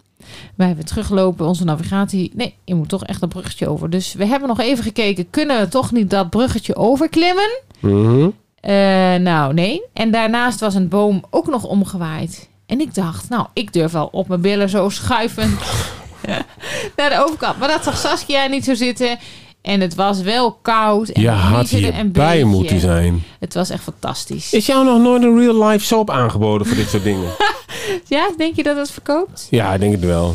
K: wij hebben teruglopen, onze navigatie. Nee, je moet toch echt dat bruggetje over. Dus we hebben nog even gekeken, kunnen we toch niet dat bruggetje overklimmen?
N: Mhm.
K: Eh, nou, nee. En daarnaast was een boom ook nog omgewaaid. En ik dacht, nou, ik durf wel op mijn billen zo schuiven [laughs] naar de overkant. Maar dat zag Saskia niet zo zitten. En het was wel koud. En
N: Je had
K: vriezerde een
N: hierbij
K: beetje.
N: moeten zijn.
K: Het was echt fantastisch.
N: Is jou nog nooit een real life soap aangeboden voor dit soort dingen?
K: [laughs] Ja, denk je dat het verkoopt?
N: Ja, ik denk het wel.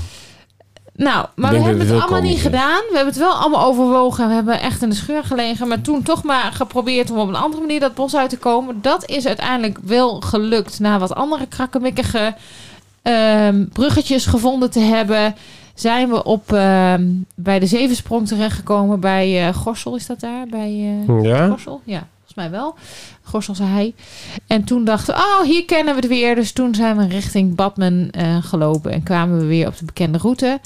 K: Nou, maar
N: denk
K: we
N: dat het
K: hebben het
N: heel
K: allemaal niet
N: komisch is.
K: gedaan. We hebben het wel allemaal overwogen. We hebben echt in de scheur gelegen. Maar toen toch maar geprobeerd om op een andere manier dat bos uit te komen. Dat is uiteindelijk wel gelukt. Na wat andere krakkemikkige ehm, bruggetjes gevonden te hebben. Zijn we op, ehm, bij de Zevensprong terechtgekomen. Bij eh, Gorsel is dat daar? Bij, eh
N: Ja.
K: Gorsel? Ja, volgens mij wel. Gorsel zei hij. En toen dachten we, oh, hier kennen we het weer. Dus toen zijn we richting Badmen eh, gelopen en kwamen we weer op de bekende route.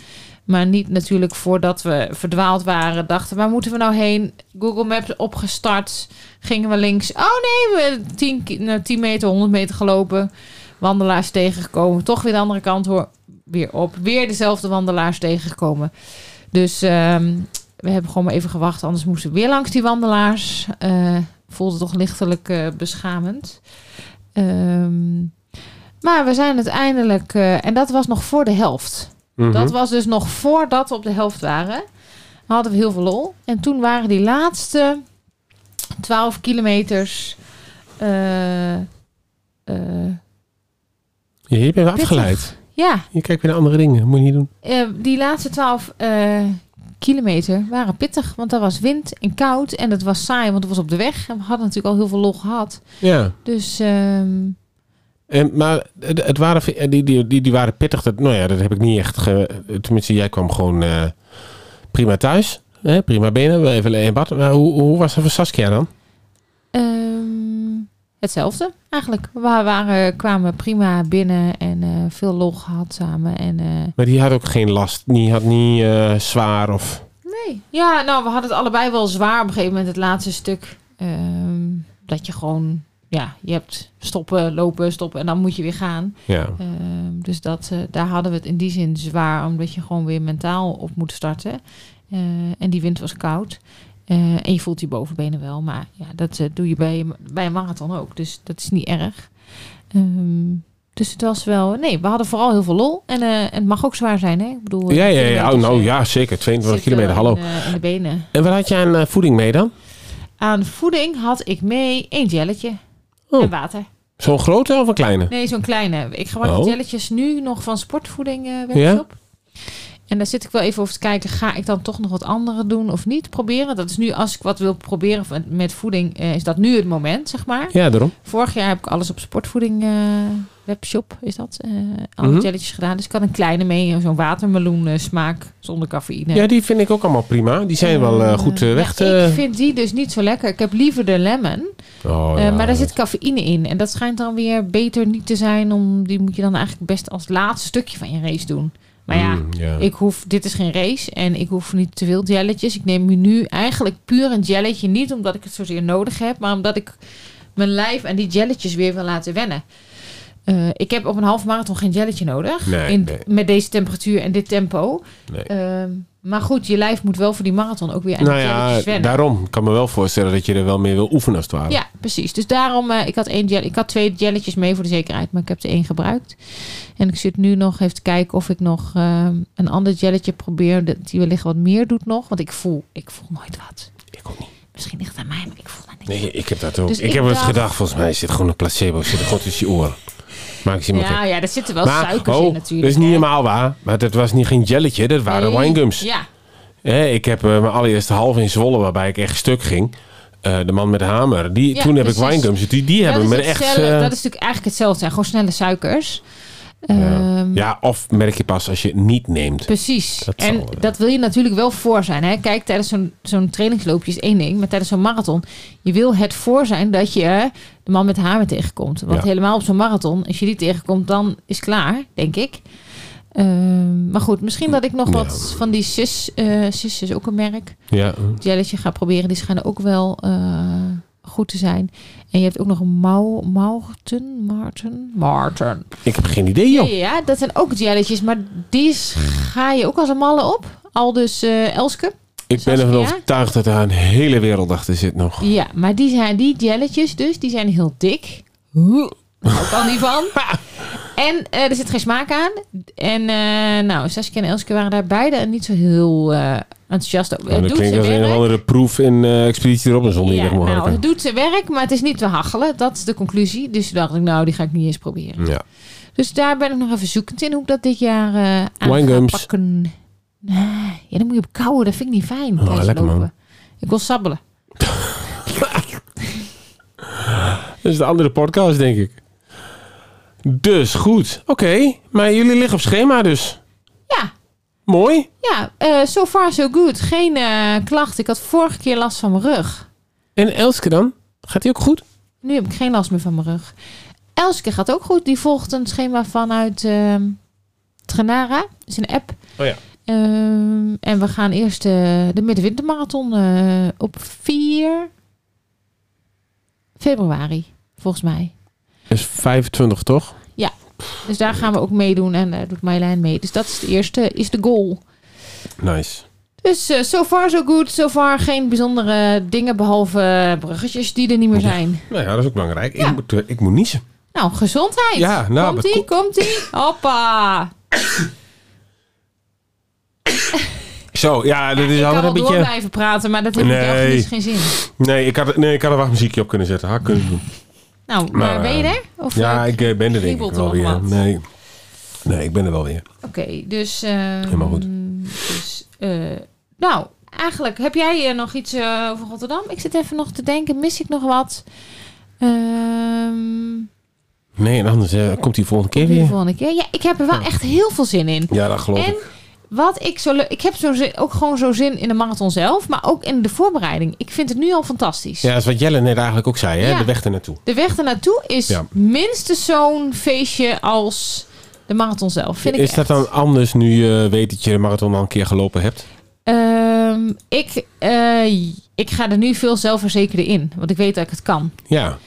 K: Maar niet natuurlijk voordat we verdwaald waren. Dachten, waar moeten we nou heen? Google Maps opgestart. Gingen we links. Oh nee, we hebben 10, ki- nou, 10 meter, 100 meter gelopen. Wandelaars tegengekomen. Toch weer de andere kant hoor. Weer op. Weer dezelfde wandelaars tegengekomen. Dus ehm, we hebben gewoon maar even gewacht. Anders moesten we weer langs die wandelaars. Eh, voelde toch lichtelijk eh, beschamend. Ehm, maar we zijn uiteindelijk... eh, en dat was nog voor de helft.
O: Mhm.
K: Dat was dus nog voordat we op de helft waren. Hadden we heel veel lol. En toen waren die laatste 12 kilometers... eh, eh,
N: Je, je bent
K: Pittig.
N: afgeleid.
K: ja,
N: Je kijkt weer naar andere dingen. Moet je niet doen.
K: Eh, die laatste 12 eh, kilometer waren pittig. Want er was wind en koud. En het was saai, want het was op de weg. En we hadden natuurlijk al heel veel lol gehad.
N: Ja.
K: Dus ehm,
N: En, maar eh, het, het waren, die, die, die, die waren pittig. Dat, nou ja, dat heb ik niet echt... Ge, tenminste, jij kwam gewoon eh, prima thuis. Hè? Prima benen. wel Even in bad. Maar hoe, hoe was dat voor Saskia dan?
K: ehm, hetzelfde eigenlijk. We waren, kwamen prima binnen en eh, veel lol gehad samen. En, eh,
N: Maar die had ook geen last. Die had niet eh, zwaar of...
K: Nee. Ja, nou, we hadden het allebei wel zwaar op een gegeven moment, het laatste stuk. Ehm, dat je gewoon, ja, je hebt stoppen, lopen, stoppen en dan moet je weer gaan.
N: Ja.
K: Ehm, dus dat, eh, daar hadden we het in die zin zwaar, omdat je gewoon weer mentaal op moet starten. Eh, en die wind was koud. Eh, en je voelt je bovenbenen wel, maar ja, dat eh, doe je bij, bij een marathon ook. Dus dat is niet erg. Ehm, dus het was wel... Nee, we hadden vooral heel veel lol. En eh, en het mag ook zwaar zijn, hè? Ik bedoel,
J: Ja, ja, ja.
K: kilometers,
J: Oh, nou
K: eh,
J: ja, zeker. 22
K: zitten
J: kilometer, hallo.
K: In, eh, in de benen.
J: En wat had je aan eh, voeding mee dan?
K: Aan voeding had ik mee een jelletje. En water.
J: Oh. Zo'n grote of een kleine?
K: Nee, zo'n kleine. Ik gebruik die
J: Oh.
K: jelletjes nu nog van sportvoeding eh
J: Ja?
K: workshop. En daar zit ik wel even over te kijken. Ga ik dan toch nog wat andere doen of niet proberen? Dat is nu als ik wat wil proberen van- met voeding, eh, is dat nu het moment, zeg maar.
J: Ja, daarom.
K: Vorig jaar heb ik alles op sportvoeding eh, webshop, is dat? eh alle
J: Mhm.
K: jelletjes gedaan. Dus ik had een kleine mee, zo'n watermeloen eh, smaak zonder cafeïne.
J: Ja, die vind ik ook allemaal prima. Die zijn wel eh, goed eh, weg
K: Ja,
J: te...
K: ik vind die dus niet zo lekker. Ik heb liever de lemon.
J: Oh,
K: Eh,
J: ja,
K: maar daar
J: dat-
K: zit cafeïne in. En dat schijnt dan weer beter niet te zijn. Om, die moet je dan eigenlijk best als laatste stukje van je race doen. Maar ja,
J: Mm, ja.
K: Ik hoef, dit is geen race. En ik hoef niet te veel jelletjes. Ik neem nu eigenlijk puur een jelletje. Niet omdat ik het zozeer nodig heb. Maar omdat ik mijn lijf en die jelletjes weer wil laten wennen. Eh, ik heb op een half marathon geen jelletje nodig.
J: Nee,
K: in,
J: nee.
K: Met deze temperatuur en dit tempo.
J: Nee.
K: Ehm, maar goed, je lijf moet wel voor die marathon ook weer aan
J: Nou
K: die
J: ja,
K: jelletjes wennen.
J: daarom. Ik kan me wel voorstellen dat je er wel mee wil oefenen als het ware.
K: Ja, precies. Dus daarom, eh, ik, had één gel, ik had twee jelletjes mee voor de zekerheid, maar ik heb er één gebruikt. En ik zit nu nog even te kijken of ik nog ehm, een ander jelletje probeer, dat die wellicht wat meer doet nog. Want ik voel, ik voel nooit wat.
J: Ik ook niet.
K: Misschien ligt het aan mij, maar ik voel dat niet.
J: Nee, ik heb dat ook.
K: Dus
J: ik,
K: ik
J: heb het
K: dacht-
J: gedacht, volgens mij zit gewoon een placebo. Zit er gewoon tussen je oren. Maak je me
K: Ja,
J: gek.
K: ja, daar zitten wel
J: Maar,
K: suikers
J: oh,
K: in natuurlijk.
J: Dat is niet helemaal waar. Maar dat was niet geen jelletje, dat waren
K: Nee.
J: winegums.
K: Ja,
J: Hè, ik heb eh, mijn allereerste half in Zwolle, waarbij ik echt stuk ging. Eh, de man met de hamer. Die,
K: Ja,
J: toen heb
K: precies.
J: ik winegums. Die, die
K: dat,
J: hebben
K: is
J: me
K: hetzelfde-
J: echt... eh,
K: dat is natuurlijk eigenlijk hetzelfde. zijn Gewoon snelle suikers. Ehm,
J: ja, of merk je pas als je het niet neemt.
K: Precies.
J: Dat
K: en
J: zal, eh,
K: dat wil je natuurlijk wel voor zijn. Hè? Kijk, tijdens zo'n zo'n trainingsloopje is één ding, maar tijdens zo'n marathon. Je wil het voor zijn dat je de man met de hamer tegenkomt. Want
J: Ja.
K: helemaal op zo'n marathon, als je die tegenkomt, dan is het klaar, denk ik. Ehm, maar goed, misschien dat ik nog wat van die sis, eh sis is ook een merk,
J: Ja.
K: jelletje ga proberen. Die schijnen ook wel eh, goed te zijn. En je hebt ook nog een Mau, Maarten, Maarten, Maarten.
J: Ik heb geen idee,
K: Ja,
J: joh.
K: ja, ja, dat zijn ook jelletjes, maar die ga je ook als een malle op. Al dus eh, Elske.
J: Ik ben ervan
K: Saskia?
J: overtuigd dat daar een hele wereld achter zit nog.
K: Ja, maar die, zijn, die jelletjes dus, die zijn heel dik. Hoe? Daar hou ik al niet van.
J: [laughs]
K: En eh, er zit geen smaak aan. En eh, nou, Saskia en Elske waren daar beide niet zo heel eh, enthousiast over.
J: En
K: Het
J: dat
K: doet
J: klinkt
K: zijn
J: als een of
K: werk.
J: andere proef in eh, Expeditie Robinson die
K: Ja,
J: weg moet
K: nou, het
J: hakken.
K: doet zijn werk, maar het is niet te hachelen. Dat is de conclusie. Dus toen dacht ik, nou, die ga ik niet eens proberen.
J: Ja.
K: Dus daar ben ik nog even zoekend in hoe ik dat dit jaar eh aan
J: Winegums.
K: ga pakken. Nee, ja, dan moet je op kouwen. Dat vind ik niet fijn.
J: Oh,
K: tijdens
J: lekker, man.
K: lopen. Ik wil sabbelen.
J: [laughs] Dat is de andere podcast, denk ik. Dus, goed. Oké, maar jullie liggen op schema dus.
K: Ja.
J: Mooi.
K: Ja, eh, so far so good. Geen eh klachten. Ik had vorige keer last van mijn rug.
J: En Elske dan? Gaat die ook goed?
K: Nu heb ik geen last meer van mijn rug. Elske gaat ook goed. Die volgt een schema vanuit ehm Trenara. Dat is een app.
J: Oh ja.
K: Ehm, en we gaan eerst eh, de middenwintermarathon eh, op 4 februari, volgens mij.
J: is 25, toch?
K: Ja, dus daar gaan we ook meedoen en daar doet Marjolein mee. Dus dat is de eerste, is de goal.
J: Nice.
K: Dus eh, so far so good, so far geen bijzondere dingen behalve eh, bruggetjes die er niet meer zijn.
J: Nou ja, dat is ook belangrijk. Ik, moet, eh, ik moet niezen.
K: Nou, gezondheid.
J: Ja, nou,
K: komt ie,
J: dat
K: komt ie. Hoppa.
J: Zo, ja, dat is
K: Ik kan
J: altijd
K: wel
J: een
K: door
J: beetje...
K: blijven praten, maar dat heeft
J: Nee.
K: nee. niet geen zin.
J: Nee, ik had, nee, ik had er wat muziekje op kunnen zetten. Had ik kunnen doen.
K: Nou, maar,
J: Maar,
K: ben je
J: eh,
K: er? Of,
J: ja,
K: eh,
J: ik eh, ben er denk ik
K: kriebelt er
J: wel
K: nog
J: weer.
K: wat?
J: Nee. nee, ik ben er wel weer.
K: Oké, dus. eh,
J: Helemaal goed.
K: Dus, eh, nou, eigenlijk heb jij eh, nog iets eh, over Rotterdam? Ik zit even nog te denken, mis ik nog wat? Ehm
J: Nee, en anders eh, komt hij volgende keer
K: de
J: weer.
K: volgende keer. Ja, ik heb er wel echt heel veel zin in.
J: Ja, dat geloof
K: en
J: ik.
K: wat ik zo leuk. Ik heb zo zin, ook gewoon zo zin in de marathon zelf, maar ook in de voorbereiding. Ik vind het nu al fantastisch.
J: Ja, dat is wat Jelle net eigenlijk ook zei, hè?
K: Ja.
J: De weg ernaartoe.
K: De weg ernaartoe is
J: Ja.
K: minstens zo'n feestje als de marathon zelf. Vind ik
J: Is dat dan anders nu je weet dat je de marathon al een keer gelopen hebt?
K: Ehm, ik, eh, ik ga er nu veel zelfverzekerder in, want ik weet dat ik het kan.
J: Ja.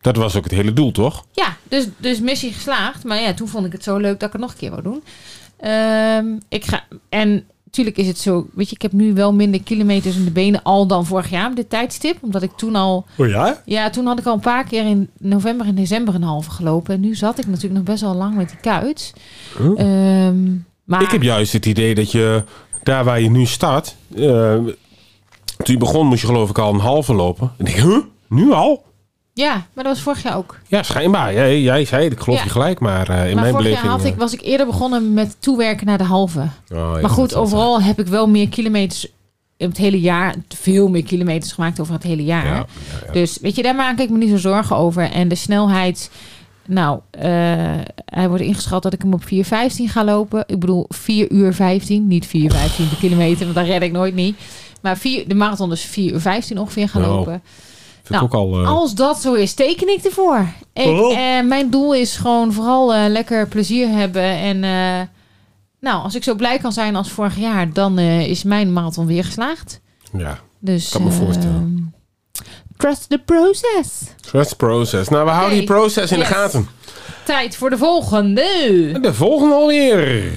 J: Dat was ook het hele doel, toch?
K: Ja, dus, dus missie geslaagd. Maar ja, toen vond ik het zo leuk dat ik het nog een keer wou doen. Ehm, ik ga, en
J: Tuurlijk is het zo, weet je, ik heb nu wel minder kilometers in de benen al dan vorig jaar op dit tijdstip. Omdat ik toen al,
P: Oh ja?
J: ja, toen had ik al een paar keer in november en december een halve gelopen. En nu zat ik natuurlijk nog best wel lang met die kuit.
K: Huh?
J: Ehm, maar
K: Ik heb juist het idee dat je daar waar je nu staat. eh, toen je begon moest je geloof ik al een halve lopen. En ik denk, huh? Nu al?
J: ja, maar dat was vorig jaar ook.
K: Ja, schijnbaar. Jij, jij zei het, ik geloof
J: Ja.
K: je gelijk. Maar eh, in
J: maar
K: mijn
J: vorig
K: beleving...
J: jaar had
K: eh,
J: ik, was ik eerder begonnen met toewerken naar de halve.
K: oh, ja,
J: maar goed,
K: dat zal
J: overal heb ik wel meer kilometers op het hele jaar, veel meer kilometers gemaakt over het hele jaar.
K: Ja, ja,
J: Dus weet je, daar maak ik me niet zo zorgen over. En de snelheid, nou, eh, hij wordt ingeschat dat ik hem op 4.15 ga lopen. Ik bedoel 4 uur 15, niet 4.15 per
K: Oh.
J: kilometer, want dat red ik nooit niet. Maar vier, de marathon is 4 uur 15 ongeveer gaan
K: Nou,
J: lopen. Nou,
K: vind ik ook al, eh,
J: Als dat zo is, teken ik ervoor. Ik,
K: Oh.
J: eh, mijn doel is gewoon vooral eh, lekker plezier hebben. En eh, nou, als ik zo blij kan zijn als vorig jaar, dan eh, is mijn marathon weer geslaagd.
K: Ja,
J: Dus,
K: kan me
J: eh,
K: voorstellen.
J: Trust the process.
K: Trust process. Nou, we houden die process in
J: yes.
K: de gaten.
J: Tijd voor de volgende.
K: De volgende alweer.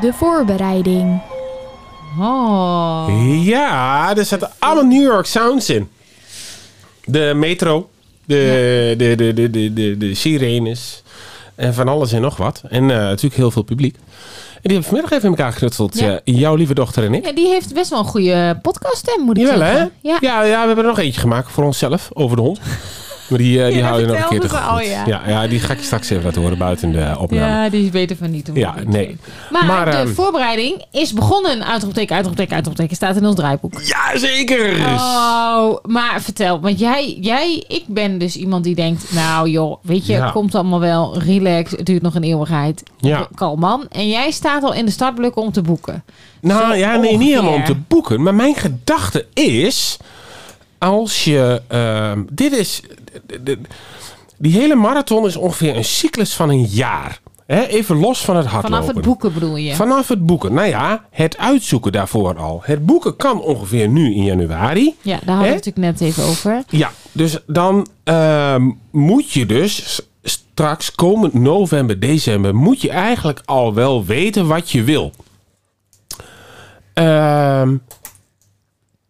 Q: De voorbereiding.
J: Oh.
K: Ja, er zaten allemaal New York Sounds in. De metro, de, de, de, de, de, de, de sirenes en van alles en nog wat. En eh, natuurlijk heel veel publiek. En die hebben vanmiddag even in elkaar geknutseld,
J: Ja.
K: eh, jouw lieve dochter en ik.
J: Ja, die heeft best wel een goede podcaststem, moet ik
K: Jawel, hè?
J: zeggen. Ja.
K: Ja, ja, we hebben er nog eentje gemaakt voor onszelf, over de hond. Maar die, eh, die
J: [laughs] Ja,
K: houden we nog een keer te
J: vertelde ze al,
K: goed.
J: ja.
K: Ja, ja, die ga ik je straks even laten horen buiten de opname. Ja,
J: Ja, die is beter van niet. hoor.
K: nee.
J: Maar, de
K: ehm,
J: voorbereiding is begonnen. Uitroepteken, uitroepteken, uitroepteken. Staat in ons draaiboek.
K: Jazeker!
J: Oh, maar vertel. Want jij, jij, ik ben dus iemand die denkt... Nou joh, weet je,
K: Ja.
J: het komt allemaal wel. Relax, het duurt nog een eeuwigheid.
K: Ja.
J: Kalm man. En jij staat al in de startblokken om te boeken.
K: Nou ja, nee, niet
J: ongeveer.
K: helemaal om te boeken. Maar mijn gedachte is. Als je. ehm, dit is. d- d- die hele marathon is ongeveer een cyclus van een jaar. Hè, even los van het hardlopen.
J: Vanaf het boeken bedoel je?
K: Vanaf het boeken. Nou ja, het uitzoeken daarvoor al. Het boeken kan ongeveer nu in januari.
J: Ja, daar hadden
K: Hè?
J: we het natuurlijk net even over.
K: Ja, dus dan ehm, moet je dus s- straks komend november, december, moet je eigenlijk al wel weten wat je wil. Ehm,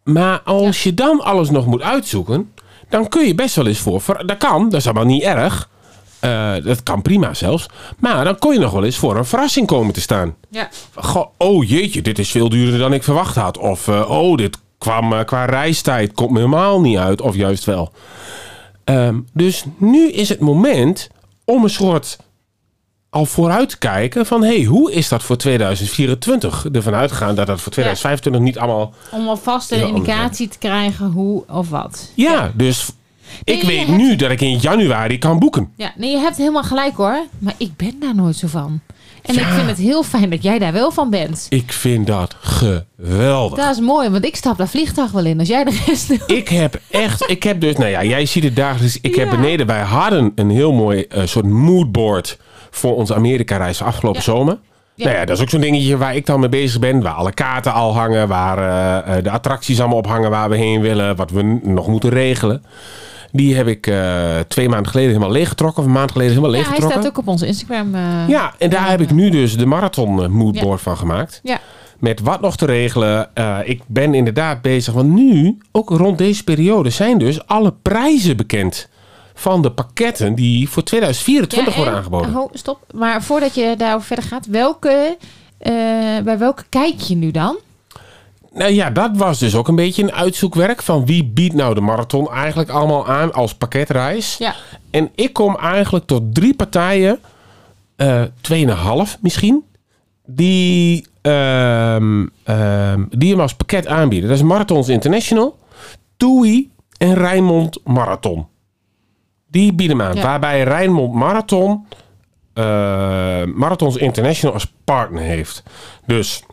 K: maar als je dan alles nog moet uitzoeken, dan kun je best wel eens voor. ver- Dat kan, dat is allemaal niet erg. Eh, dat kan prima zelfs. Maar dan kon je nog wel eens voor een verrassing komen te staan.
J: Ja.
K: Goh, oh jeetje, dit is veel duurder dan ik verwacht had. Of eh, oh, dit kwam eh, qua reistijd komt me helemaal niet uit. Of juist wel. Ehm, dus nu is het moment om een soort al vooruit te kijken van... hé, hey, hoe is dat voor 2024? Ervan uitgaan dat dat voor 2025 niet allemaal...
J: Om alvast een
K: Ja,
J: indicatie te krijgen hoe of wat.
K: Ja, dus ik
J: Nee,
K: weet
J: je
K: nu dat ik in januari kan boeken.
J: Ja, nee, je hebt helemaal gelijk hoor. Maar ik ben daar nooit zo van. En ik vind het heel fijn dat jij daar wel van bent.
K: Ik vind dat geweldig.
J: Dat is mooi, want ik stap dat vliegtuig wel in als jij de rest doet.
K: Ik heb echt, ik heb dus, nou ja, jij ziet het dagelijks. Ik heb beneden, wij hadden een heel mooi eh, soort moodboard voor onze Amerika-reis afgelopen zomer. Nou ja, dat is ook zo'n dingetje waar ik dan mee bezig ben. Waar alle kaarten al hangen, waar eh, eh, de attracties allemaal op hangen, waar we heen willen, wat we n- nog moeten regelen. Die heb ik eh, twee maanden geleden helemaal leeggetrokken, of een maand geleden helemaal
J: Ja, hij
K: leeggetrokken.
J: staat ook op onze Instagram. eh,
K: Ja, en daar heb ik nu dus de marathon eh, moodboard van gemaakt.
J: Ja.
K: Met wat nog te regelen. Eh, ik ben inderdaad bezig. Want nu, ook rond deze periode, zijn dus alle prijzen bekend. Van de pakketten die voor 2024
J: Ja,
K: worden
J: en-
K: aangeboden.
J: ho, stop. Maar voordat je daarover verder gaat, welke, eh, bij welke kijk je nu dan?
K: Nou ja, dat was dus ook een beetje een uitzoekwerk. Van wie biedt nou de marathon eigenlijk allemaal aan als pakketreis.
J: Ja.
K: En ik kom eigenlijk tot drie partijen. eh, Tweeënhalf misschien. Die, ehm, ehm, die hem als pakket aanbieden. Dat is Marathons International, TUI en Rijnmond Marathon. Die bieden hem aan.
R: Ja.
K: Waarbij Rijnmond Marathon eh, Marathons International als partner heeft. Dus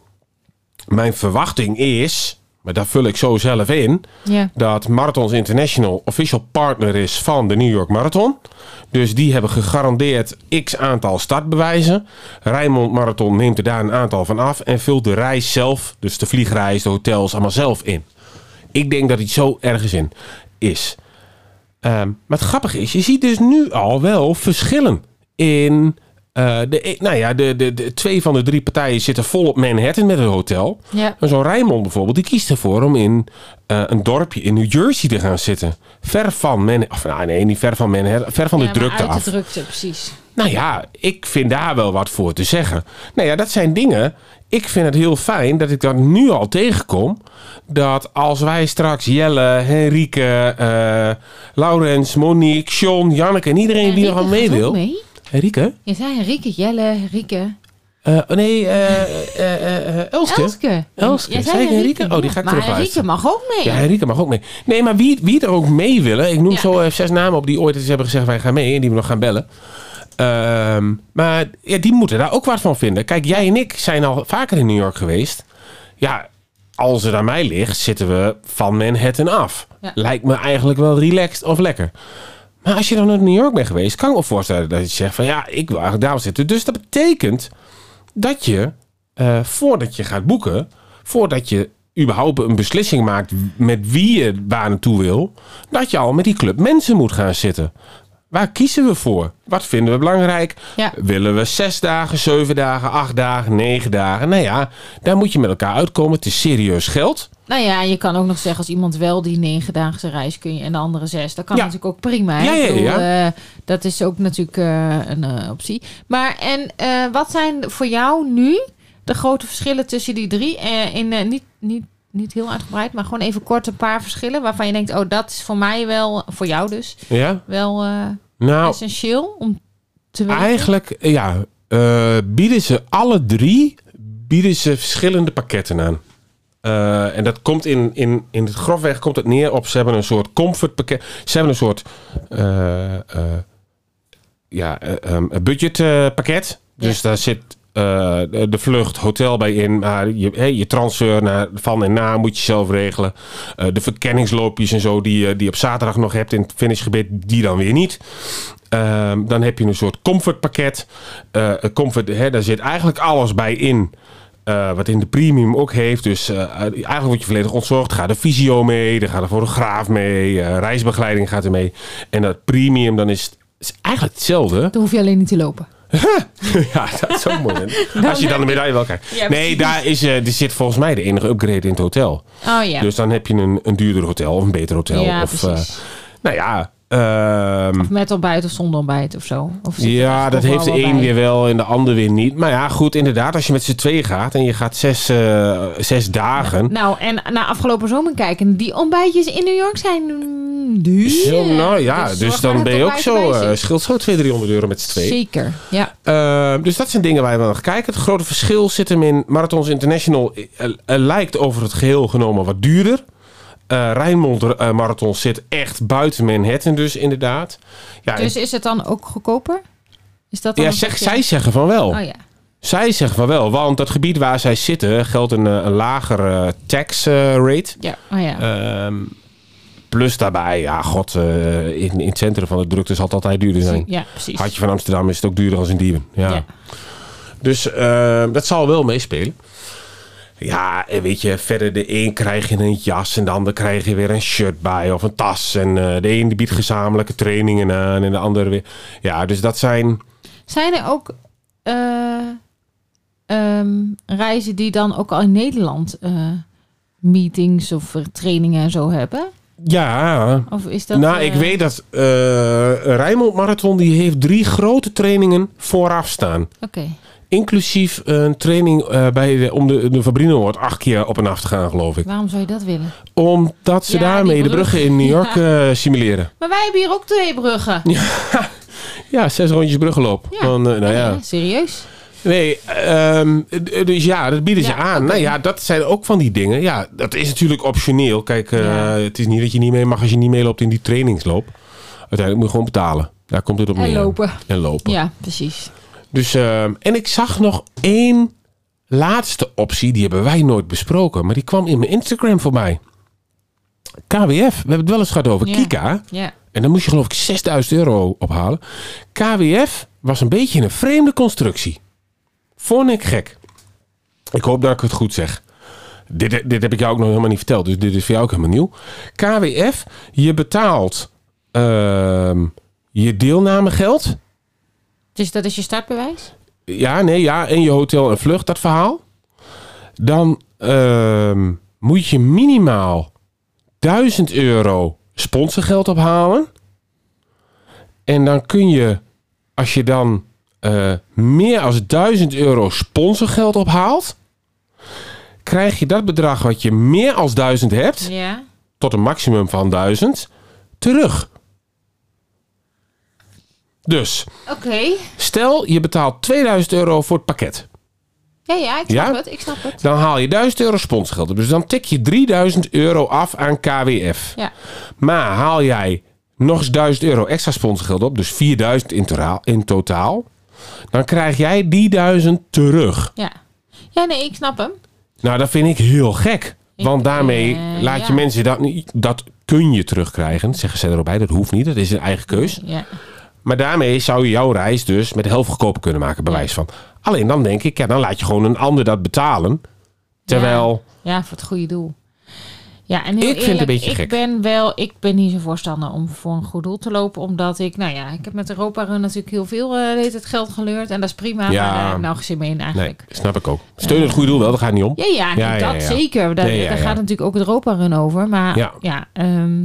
K: mijn verwachting is maar daar vul ik zo zelf in,
J: Ja.
K: dat Marathons International official partner is van de New York Marathon. Dus die hebben gegarandeerd x aantal startbewijzen. Rijnmond Marathon neemt er daar een aantal van af en vult de reis zelf, dus de vliegreis, de hotels, allemaal zelf in. Ik denk dat iets zo ergens in is. Ehm, maar het grappige is, je ziet dus nu al wel verschillen in. eh, de, nou ja, de, de, de, twee van de drie partijen zitten vol op Manhattan met een hotel.
J: Ja.
K: En zo'n Rijnmond bijvoorbeeld, die kiest ervoor om in eh, een dorpje in New Jersey te gaan zitten. Ver van Manhattan. Of nou, nee, niet ver van Manhattan. Ver van
J: Ja,
K: de
J: maar
K: drukte
J: uit
K: af.
J: de drukte, precies.
K: Nou ja, ik vind daar wel wat voor te zeggen. Nou ja, dat zijn dingen. Ik vind het heel fijn dat ik dat nu al tegenkom. Dat als wij straks Jelle, Henrike, eh, Laurens, Monique, Sean, Janneke en iedereen die nog aan mee
J: gaat ook
K: wil.
J: mee?
K: Henrike?
J: Je zei Henrike, Jelle, Henrike.
K: Eh, oh nee, eh, eh, eh, eh, Elske.
J: Elske.
K: Elske.
J: Jij
K: Zei ik Henrike? Oh, die ga ik
J: maar
K: terug
J: Henrike
K: luisteren.
J: mag ook mee.
K: Ja, Henrike mag ook mee. Nee, maar wie, wie er ook mee willen. Ik noem zo even zes namen op die ooit eens hebben gezegd: wij gaan mee. En die we nog gaan bellen. Ehm, maar ja, die moeten daar ook wat van vinden. Kijk, jij en ik zijn al vaker in New York geweest. Ja, als het aan mij ligt, zitten we van Manhattan af.
J: Ja.
K: Lijkt me eigenlijk wel relaxed of lekker. Maar als je dan naar New York bent geweest, kan ik me voorstellen dat je zegt van ja, ik wil eigenlijk daar wel zitten. Dus dat betekent dat je eh, voordat je gaat boeken, voordat je überhaupt een beslissing maakt met wie je waar naartoe wil, dat je al met die club mensen moet gaan zitten. Waar kiezen we voor? Wat vinden we belangrijk?
J: Ja.
K: Willen we zes dagen, zeven dagen, acht dagen, negen dagen? Nou ja, daar moet je met elkaar uitkomen. Het is serieus geld.
J: Nou ja, en je kan ook nog zeggen als iemand wel die negendaagse reis kun je en de andere zes. Dat kan
K: Ja.
J: natuurlijk ook prima. hè?
K: Ja, ja,
J: Ik bedoel,
K: ja.
J: eh, dat is ook natuurlijk eh, een eh, optie. Maar en eh, wat zijn voor jou nu de grote verschillen tussen die drie? Eh, in, eh, niet, niet, niet heel uitgebreid, maar gewoon even kort een paar verschillen waarvan je denkt, oh dat is voor mij wel, voor jou dus,
K: Ja?
J: wel eh,
K: Nou,
J: essentieel om te weten.
K: Eigenlijk, ja, eh, bieden ze alle drie bieden ze verschillende pakketten aan. Eh, en dat komt in, in, in het grofweg komt het neer op ze hebben een soort comfortpakket. Ze hebben een soort eh, eh, ja, eh, ehm, een budgetpakket. dus daar zit eh, de- de vlucht, hotel bij in. Maar je, hè, je transfer naar, van en na moet je zelf regelen. Eh, de verkenningsloopjes en zo die je die je op zaterdag nog hebt in het finishgebied, die dan weer niet. Ehm, dan heb je een soort comfortpakket. Eh, een comfort, hè, daar zit eigenlijk alles bij in. eh, wat in de premium ook heeft. Dus eh, eigenlijk word je volledig ontzorgd. Er Gaat de fysio mee, er gaat de fotograaf mee, eh, reisbegeleiding gaat er mee. En dat premium, dan is het is eigenlijk hetzelfde.
J: Dan hoef je alleen niet te lopen.
K: [laughs] ja, dat is ook mooi.
J: [laughs]
K: hè? Als je dan de medaille wel krijgt.
J: Ja, precies.
K: nee, daar is, eh, er zit volgens mij de enige upgrade in het hotel.
J: Oh ja.
K: Dus dan heb je een, een duurder hotel of een beter hotel.
J: Ja,
K: of,
J: precies.
K: eh, nou ja, ehm,
J: Of met ontbijt of zonder ontbijt of zo. Of zit er
K: ja,
J: echt
K: dat
J: nog
K: heeft de
J: wel
K: een
J: bij?
K: weer wel en de ander weer niet. Maar ja, goed, inderdaad, als je met z'n tweeën gaat en je gaat zes, eh, zes dagen.
J: Nou, en na afgelopen zomer kijken, die ontbijtjes in New York zijn mm, duur.
K: Zo, nou ja,
J: Dus
K: dus,
J: zorg maar
K: dan
J: dat
K: ben je
J: er
K: ook
J: bij
K: zo,
J: erbij
K: eh,
J: zit.
K: scheelt zo 200, 300 euro met z'n tweeën.
J: Zeker, ja.
K: Ehm, dus dat zijn dingen waar je wel naar kijken. Het grote verschil zit hem in Marathons International eh, eh, lijkt over het geheel genomen wat duurder. Eh Rijnmond eh, Marathon zit echt buiten Manhattan dus inderdaad. Ja,
J: dus
K: en-
J: is het dan ook goedkoper? Is dat dan
K: ja
J: een
K: zeg,
J: beetje-
K: zij zeggen van wel.
J: Oh ja.
K: Zij zeggen van wel, want dat gebied waar zij zitten geldt een, eh, een lager eh, tax eh, rate.
J: Ja, oh ja.
K: Ehm, plus daarbij, ja, god, eh, in, in het centrum van de drukte zal het altijd duurder zijn.
J: Ja, precies.
K: Hartje van Amsterdam is het ook duurder als in Diemen. Ja.
J: Ja.
K: Dus ehm, dat zal wel meespelen. Ja, en weet je, verder de een krijg je een jas en de ander krijg je weer een shirt bij of een tas. En eh, de een die biedt gezamenlijke trainingen aan en de ander weer. Ja, dus dat zijn...
J: Zijn er ook eh, ehm, reizen die dan ook al Oh, in Nederland eh, meetings of eh, trainingen en zo hebben?
K: Ja.
J: Of is dat,
K: nou,
J: eh,
K: ik weet dat eh Rijnmond Marathon die heeft drie grote trainingen vooraf staan.
J: Oké.
K: Inclusief een training eh, bij de, om de, de Fabrinoord acht keer op en af te gaan, geloof ik.
J: Waarom zou je dat willen?
K: Omdat ze
J: Ja,
K: daarmee
J: die
K: de
J: brug.
K: bruggen in New York eh, simuleren.
J: Maar wij hebben hier ook twee bruggen.
K: Ja, zes rondjes bruggenloop.
J: Ja.
K: Dan, eh, nou ja.
J: Eh, serieus?
K: Nee, ehm, d- dus ja, dat bieden ze aan. Nou ja, dat zijn ook van die dingen. Ja, dat is natuurlijk optioneel. Kijk, eh, het is niet dat je niet mee mag als je niet meeloopt in die trainingsloop. Uiteindelijk moet je gewoon betalen. Daar komt het op
J: En
K: neer.
J: lopen.
K: En lopen.
J: Ja, precies.
K: Dus, ehm, en ik zag nog één laatste optie, die hebben wij nooit besproken, maar die kwam in mijn Instagram voorbij. KWF, we hebben het wel eens gehad over
J: Ja.
K: Kika.
J: Ja.
K: En dan moest je geloof ik 6000 euro ophalen. KWF was een beetje een vreemde constructie. Vond ik gek. Ik hoop dat ik het goed zeg. Dit, dit heb ik jou ook nog helemaal niet verteld, dus dit is voor jou ook helemaal nieuw. KWF, je betaalt ehm, je deelnamegeld.
J: Dus dat is je startbewijs?
K: Ja, nee, ja. En je hotel en vlucht, dat verhaal. Dan ehm, moet je minimaal 1000 euro sponsorgeld ophalen. En dan kun je, als je dan eh, meer dan 1000 euro sponsorgeld ophaalt, krijg je dat bedrag wat je meer dan 1000 hebt,
J: Ja.
K: tot een maximum van 1000, terug. Dus,
J: Oké.
K: stel je betaalt 2000 euro voor het pakket.
J: Ja, ja, ik snap
K: Ja?
J: het. Ik snap het.
K: Dan haal je 1000 euro sponsorgeld op. Dus dan tik je 3000 euro af aan KWF.
J: Ja.
K: Maar haal jij nog eens 1000 euro extra sponsorgeld op, dus 4000 in totaal, in totaal dan krijg jij die 1000 terug.
J: Ja. Ja, nee, ik snap hem.
K: Nou, dat vind ik heel gek. Want daarmee
J: eh,
K: laat je
J: ja.
K: mensen dat niet. Dat kun je terugkrijgen. Zeggen ze er ook bij, dat hoeft niet. Dat is een eigen keus.
J: Ja.
K: Maar daarmee zou je jouw reis dus met de helft goedkoper kunnen maken, bewijs van. Alleen dan denk ik, ja, dan laat je gewoon een ander dat betalen. Terwijl,
J: Ja, voor het goede doel. Ja, en heel
K: Ik vind het
J: eerlijk,
K: een beetje
J: ik
K: gek.
J: Ben wel, ik ben niet zo'n voorstander om voor een goed doel te lopen. Omdat ik, nou ja, ik heb met Europa Run natuurlijk heel veel eh, heet het geld geleurd. En dat is prima,
K: Ja.
J: maar daar heb ik nou geen zin mee in
K: nee,
J: eigenlijk.
K: snap ik ook. Steun het goede doel wel, dat gaat niet om.
J: Ja, ja, nee, dat zeker. Daar,
K: Nee, ja,
J: daar
K: ja.
J: gaat natuurlijk ook het Europa Run over. Maar
K: Ja.
J: ja, ehm,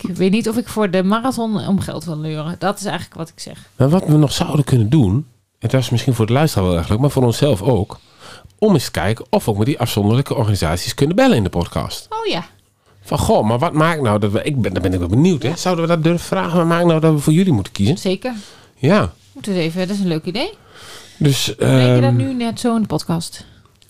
J: ik weet niet of ik voor de marathon om geld wil leuren. Dat is eigenlijk wat ik zeg.
K: Maar wat we nog zouden kunnen doen, en dat is misschien voor de luisteraar wel eigenlijk, maar voor onszelf ook, om eens te kijken of we ook met die afzonderlijke organisaties kunnen bellen in de podcast.
J: Oh ja.
K: Van goh, maar wat maakt nou dat we, ik ben, daar ben ik wel benieuwd, hè? zouden we dat durven vragen? Wat maakt nou dat we voor jullie moeten kiezen?
J: Zeker.
K: Ja,
J: Moeten we eens even, dat is een leuk idee.
K: dus.
J: Breng je dat
K: ehm,
J: nu net zo in de podcast?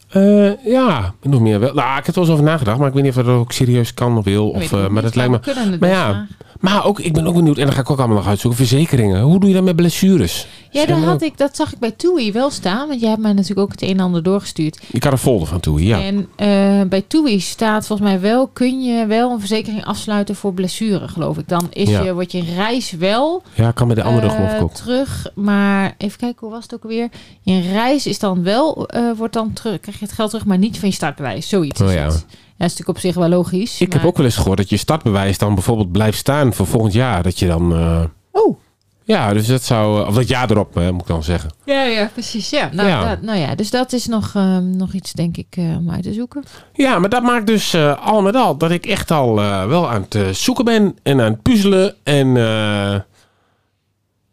K: Eh, ja, nog meer wel. Nou, ik heb er wel eens over nagedacht, maar ik weet niet of dat ook serieus kan of wil.
J: Weet
K: Of,
J: ik
K: eh,
J: ook
K: maar
J: niet,
K: dat lijkt
J: maar
K: me.
J: we kunnen het
K: maar
J: dus
K: ja, maar ook, ik ben ook benieuwd, en dan ga ik ook allemaal nog uitzoeken. Verzekeringen. Hoe doe je dat met blessures?
J: Ja, dat, had ik, dat zag ik bij TUI wel staan. Want jij hebt mij natuurlijk ook het een en ander doorgestuurd.
K: Ik had een folder van toe, ja.
J: En eh, bij TUI staat volgens mij wel... kun je wel een verzekering afsluiten voor blessure, geloof ik. Dan is
K: Ja.
J: je, wordt je reis wel
K: ja, kan bij de andere
J: eh,
K: geloof ik ook.
J: terug. Maar even kijken, hoe was het ook weer? Je reis is dan wel, eh, wordt dan terug, krijg je het geld terug... maar niet van je startbewijs. Zoiets
K: Oh
J: is
K: ja.
J: het. Ja, dat is natuurlijk op zich wel logisch.
K: Ik heb ook wel eens gehoord dat je startbewijs dan bijvoorbeeld blijft staan voor volgend jaar. Dat je dan. eh,
J: Oh.
K: Ja, dus dat zou. eh, of dat jaar erop, eh, moet ik dan zeggen.
J: Ja, ja, precies. Ja. Nou,
K: Ja.
J: Dat, nou ja, dus dat is nog, eh, nog iets, denk ik, eh, om uit te zoeken.
K: Ja, maar dat maakt dus eh, al met al dat ik echt al eh, wel aan het eh, zoeken ben en aan het puzzelen. En eh,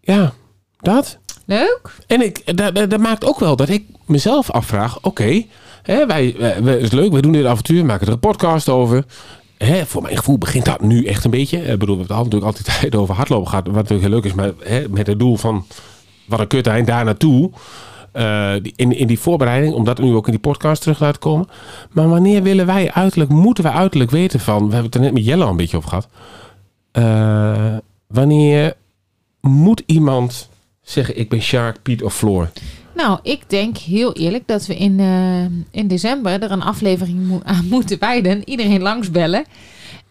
K: ja, dat.
J: Leuk.
K: En ik, eh, dat, dat, dat maakt ook wel dat ik mezelf afvraag, oké, hè, wij, wij- wij- het is leuk, wij doen dit avontuur, maken er een podcast over. Hè, voor mijn gevoel begint dat nu echt een beetje. Ik bedoel, we hebben het al- natuurlijk altijd [laughs] tijd over hardlopen gehad, wat natuurlijk heel leuk is, maar hè, met het doel van wat een kut eind daar naartoe. eh, die- in, in die voorbereiding, om dat nu ook in die podcast terug te laten komen. Maar wanneer willen wij uiterlijk, moeten wij uiterlijk weten van, we hebben het er net met Jelle al een beetje over gehad. Eh, wanneer moet iemand zeggen: Ik ben Sjaak, Piet of Floor?
J: Nou, ik denk heel eerlijk dat we in, eh, in december er een aflevering mo- aan [laughs] moeten wijden. Iedereen langsbellen.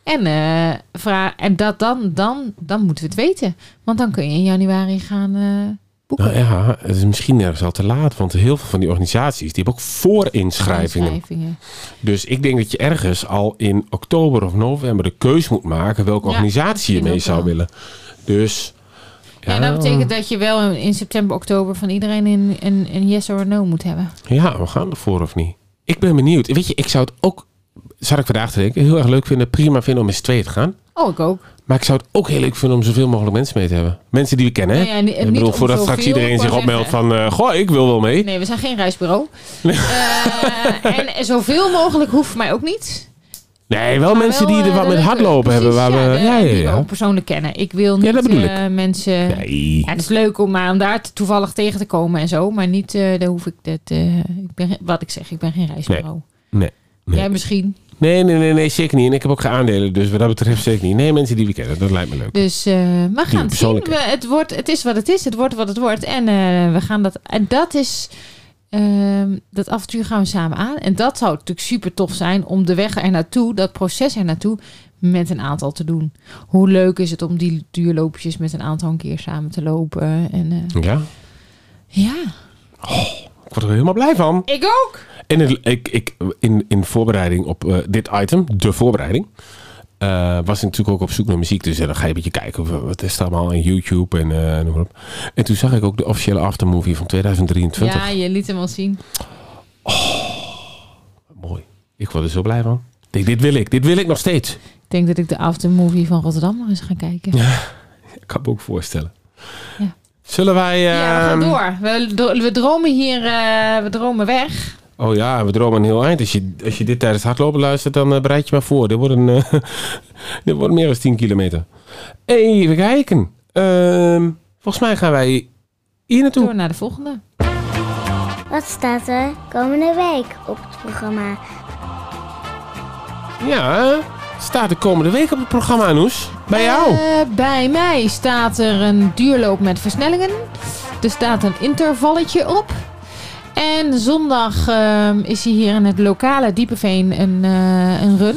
J: En, eh vra- en dat dan, dan, dan moeten we het weten. Want dan kun je in januari gaan. eh,
K: Nou ja, het is misschien ergens al te laat, want heel veel van die organisaties die hebben ook voorinschrijvingen.
J: inschrijvingen.
K: Dus ik denk dat je ergens al in oktober of november de keus moet maken welke
J: Ja,
K: organisatie
J: misschien
K: je mee
J: ook
K: zou
J: wel.
K: willen. Dus. Ja, oh.
J: En Nou, dat betekent dat je wel in september, oktober van iedereen een, een, een yes or a no moet hebben.
K: Ja, we gaan ervoor of niet? Ik ben benieuwd. Weet je, ik zou het ook, zat ik vandaag te denken, heel erg leuk vinden, prima vinden om eens twee te gaan.
J: Oh, ik ook.
K: Maar ik zou het ook heel leuk vinden om zoveel mogelijk mensen mee te hebben. Mensen die we kennen, hè?
J: Nou ja, niet-
K: ik
J: niet
K: bedoel,
J: om
K: voordat
J: zoveel,
K: straks iedereen
J: ik wou
K: zich opmeldt
J: zeggen.
K: van... eh, goh, ik wil wel mee.
J: Nee, we zijn geen
K: [laughs]
J: reisbureau. Eh, en zoveel mogelijk hoeft mij ook niet. eh,
K: Nee, wel mensen die er wat met hardlopen hebben. Waar we, ja, ja, ja.
J: ook persoonlijk kennen. Ik wil niet
K: dat bedoel
J: eh, mensen.
K: Nee.
J: Ja, het is leuk om, maar om daar t- toevallig tegen te komen en zo. Maar niet, eh, daar hoef ik dat. eh, ik ben, geen- wat ik zeg, ik ben geen reisbureau.
K: Nee.
J: Jij misschien.
K: Nee, nee, nee, nee, zeker niet. En ik heb ook geen aandelen, dus wat dat betreft zeker niet. Nee, mensen die we kennen, dat lijkt me leuk.
J: Dus eh, we gaan het zien.
K: persoonlijk.
J: We, het, wordt, het is wat het is. Het wordt wat het wordt. En eh, we gaan dat. En dat is. eh, Ehm, dat avontuur gaan we samen aan. En dat zou natuurlijk super tof zijn om de weg er naartoe, dat proces er naartoe, met een aantal te doen. Hoe leuk is het om die duurloopjes met een aantal een keer samen te lopen? En, eh,
K: Ja. Oh,
J: ja.
K: Ik word er helemaal blij van.
J: Ik ook.
K: En het- ik, ik, in, in voorbereiding op eh, dit item, de voorbereiding, eh, was ik natuurlijk ook op zoek naar muziek. Dus eh, dan ga je een beetje kijken, of, eh, wat is er allemaal in YouTube en eh, noem maar op. En toen zag ik ook de officiële aftermovie van 2023.
J: Ja, je liet hem al zien.
K: Ik word er zo blij van. Ik denk, dit wil ik, dit wil ik nog steeds.
J: Ik denk dat ik de aftermovie van Rotterdam nog eens ga kijken.
K: Ik kan me ook voorstellen.
J: Ja.
K: Zullen wij...
J: Ja, we
K: ehm,
J: gaan door. We, dro- we dromen hier, eh, we dromen weg.
K: Oh ja, we dromen een heel eind. Als je, als je dit tijdens het hardlopen luistert, dan eh, bereid je maar voor. Dit wordt, een, eh, [laughs] dit wordt meer dan 10 kilometer. Even kijken. Ehm, volgens mij gaan wij hier naartoe.
J: Door naar de volgende.
P: Wat staat er komende week op het programma?
K: Ja, staat de komende week op het programma, Noes. Bij jou.
J: Eh, bij mij staat er een duurloop met versnellingen. Er staat een intervalletje op. En zondag ehm, is hier in het lokale Diepeveen een, eh, een run.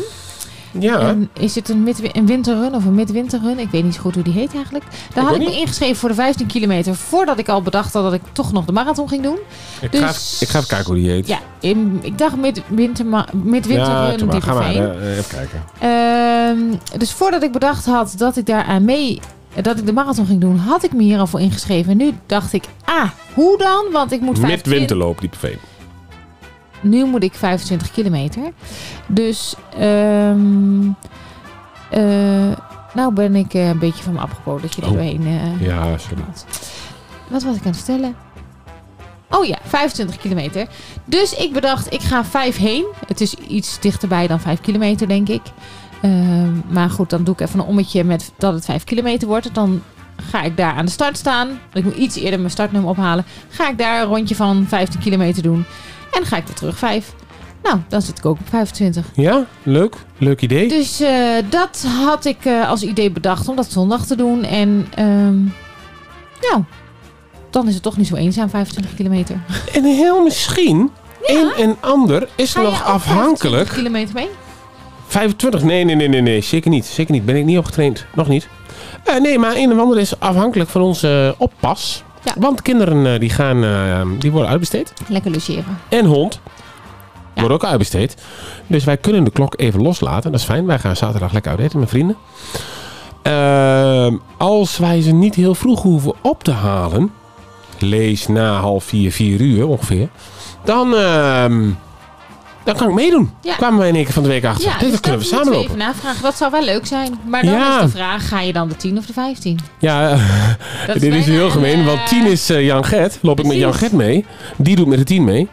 K: Ja.
J: En is het een, midwi- een winterrun of een midwinterrun? Ik weet niet zo goed hoe die heet eigenlijk. Daar
K: Ik
J: had
K: ook
J: ik me
K: niet.
J: ingeschreven voor de 15 kilometer. Voordat ik al bedacht had dat ik toch nog de marathon ging doen.
K: Ik,
J: dus
K: ga, even- ik ga even kijken hoe die heet.
J: ja, in- ik dacht midwinterma- midwinterrun
K: doe maar. Ga maar.
J: Diepeveen.
K: eh, even kijken.
J: Ehm, dus voordat ik bedacht had dat ik daar aan mee, dat ik de marathon ging doen, had ik me hier al voor ingeschreven. En nu dacht ik, ah, hoe dan? Want ik moet 25,
K: Midwinterloop, Diepeveen.
J: Nu moet ik 25 kilometer. Dus, ehm, eh, nou ben ik eh, een beetje van me afgekomen dat je er
K: Oh.
J: doorheen. eh,
K: Ja, sorry.
J: Wat was ik aan het vertellen? Oh ja, 25 kilometer. Dus ik bedacht, ik ga 5 heen. Het is iets dichterbij dan 5 kilometer, denk ik. Ehm, maar goed, dan doe ik even een ommetje met dat het 5 kilometer wordt. Dan ga ik daar aan de start staan. Ik moet iets eerder mijn startnummer ophalen. Ga ik daar een rondje van 15 kilometer doen. En ga ik weer terug 5. Nou, dan zit ik ook op 25.
K: Ja, leuk. Leuk idee.
J: Dus eh, dat had ik eh, als idee bedacht om dat zondag te doen. En ehm, nou, dan is het toch niet zo eenzaam, 25 kilometer.
K: En heel misschien, een en ander is
J: Ga je
K: nog
J: ook
K: afhankelijk.
J: 25 kilometer mee?
K: 25? Nee, nee, nee, nee, nee. Zeker niet. Zeker niet. Ben ik niet opgetraind. Nog niet. Eh, nee, maar een en ander is afhankelijk van onze eh, oppas. Want kinderen eh, die gaan, eh, die worden uitbesteed.
J: Lekker logeren.
K: En hond wordt ook uitbesteed. Dus wij kunnen de klok even loslaten. Dat is fijn. Wij gaan zaterdag lekker uit eten met vrienden. Ehm, als wij ze niet heel vroeg hoeven op te halen. Lees na half vier, vier uur ongeveer. Dan, ehm, dan kan ik meedoen.
J: Ja.
K: Kwamen wij in één keer van de week achter. Dit
J: dus
K: kunnen we
J: dat moeten
K: samen lopen.
J: Even navragen. Dat zou wel leuk zijn. Maar dan
K: Ja.
J: is de vraag, ga je dan de 10 of de 15?
K: Ja, [laughs]
J: Dat is
K: dit is
J: bijna
K: heel
J: een,
K: gemeen, want 10 is eh, Jan Gert. Loop ik met Jan Gert mee. Die doet met de 10 mee.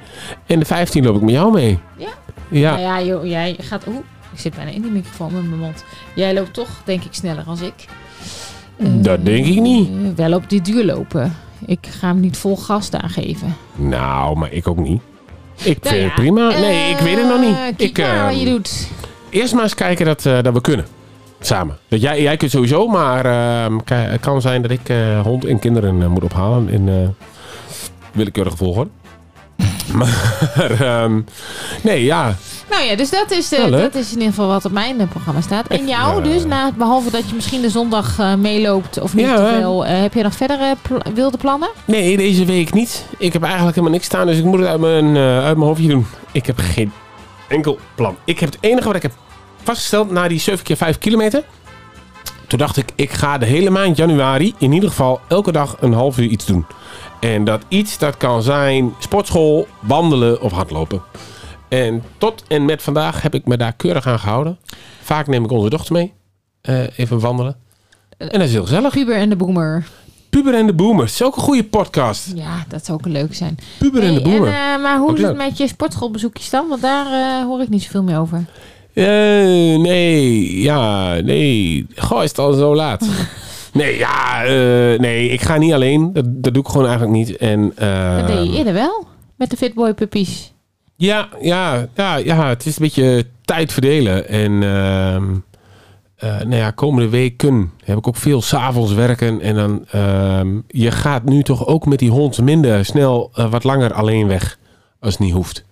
K: En de 15 loop ik met jou mee.
J: Ja?
K: Ja.
J: Nou ja, joh, jij gaat... Oeh, ik zit bijna in die microfoon met mijn mond. Jij loopt toch, denk ik, sneller als ik.
K: Dat denk ik niet.
J: Eh, wel op die duur lopen. Ik ga hem niet vol gas daar geven.
K: Nou, maar ik ook niet. Ik
J: Nou
K: vind het
J: ja,
K: prima. Nee, ik weet het nog niet.
J: Eh, kijk
K: Ik,
J: maar wat
K: ehm,
J: je doet.
K: Eerst maar eens kijken dat, eh, dat we kunnen. Samen. Dat jij, jij kunt sowieso, maar ehm, ki- het kan zijn dat ik eh, hond en kinderen eh, moet ophalen in eh willekeurige volgorde. [laughs] maar ehm, nee, ja.
J: Nou ja, dus dat is, eh,
K: Nou, leuk.
J: dat is in ieder geval wat op mijn eh, programma staat. En jou
K: eh,
J: dus, na, behalve dat je misschien de zondag eh, meeloopt of niet
K: Ja,
J: te
K: eh.
J: veel. eh, heb je nog verder eh, pl- wilde plannen?
K: Nee, deze week niet. Ik heb eigenlijk helemaal niks staan, dus ik moet het uit mijn, eh, uit mijn hoofdje doen. Ik heb geen enkel plan. Ik heb het enige wat ik heb vastgesteld na die 7 keer 5 kilometer. Toen dacht ik, ik ga de hele maand januari in ieder geval elke dag een half uur iets doen. En dat iets, dat kan zijn sportschool, wandelen of hardlopen. En tot en met vandaag heb ik me daar keurig aan gehouden. Vaak neem ik onze dochter mee. eh, even wandelen. En dat is heel gezellig.
J: Puber en de Boomer.
K: Puber en de Boomer. Dat is ook een goede podcast.
J: Ja, dat zou ook leuk zijn.
K: Puber en de
J: Hey,
K: Boomer.
J: eh, maar hoe
K: Ook
J: is het
K: leuk.
J: met je sportschoolbezoekjes dan? Want daar eh, hoor ik niet zoveel meer over.
K: Eh, nee, ja, nee. Goh, is het al zo
J: [laughs]
K: laat? nee, ja, eh, nee, ik ga niet alleen. Dat, dat doe ik gewoon eigenlijk niet. En, eh,
J: dat deed je eerder wel. Met de Fitboy puppies.
K: ja, ja, ja, ja, het is een beetje tijd verdelen. En ehm, eh, nou ja, komende weken heb ik ook veel s'avonds werken. En dan, ehm, je gaat nu toch ook met die hond minder snel eh, wat langer alleen weg. als het niet hoeft.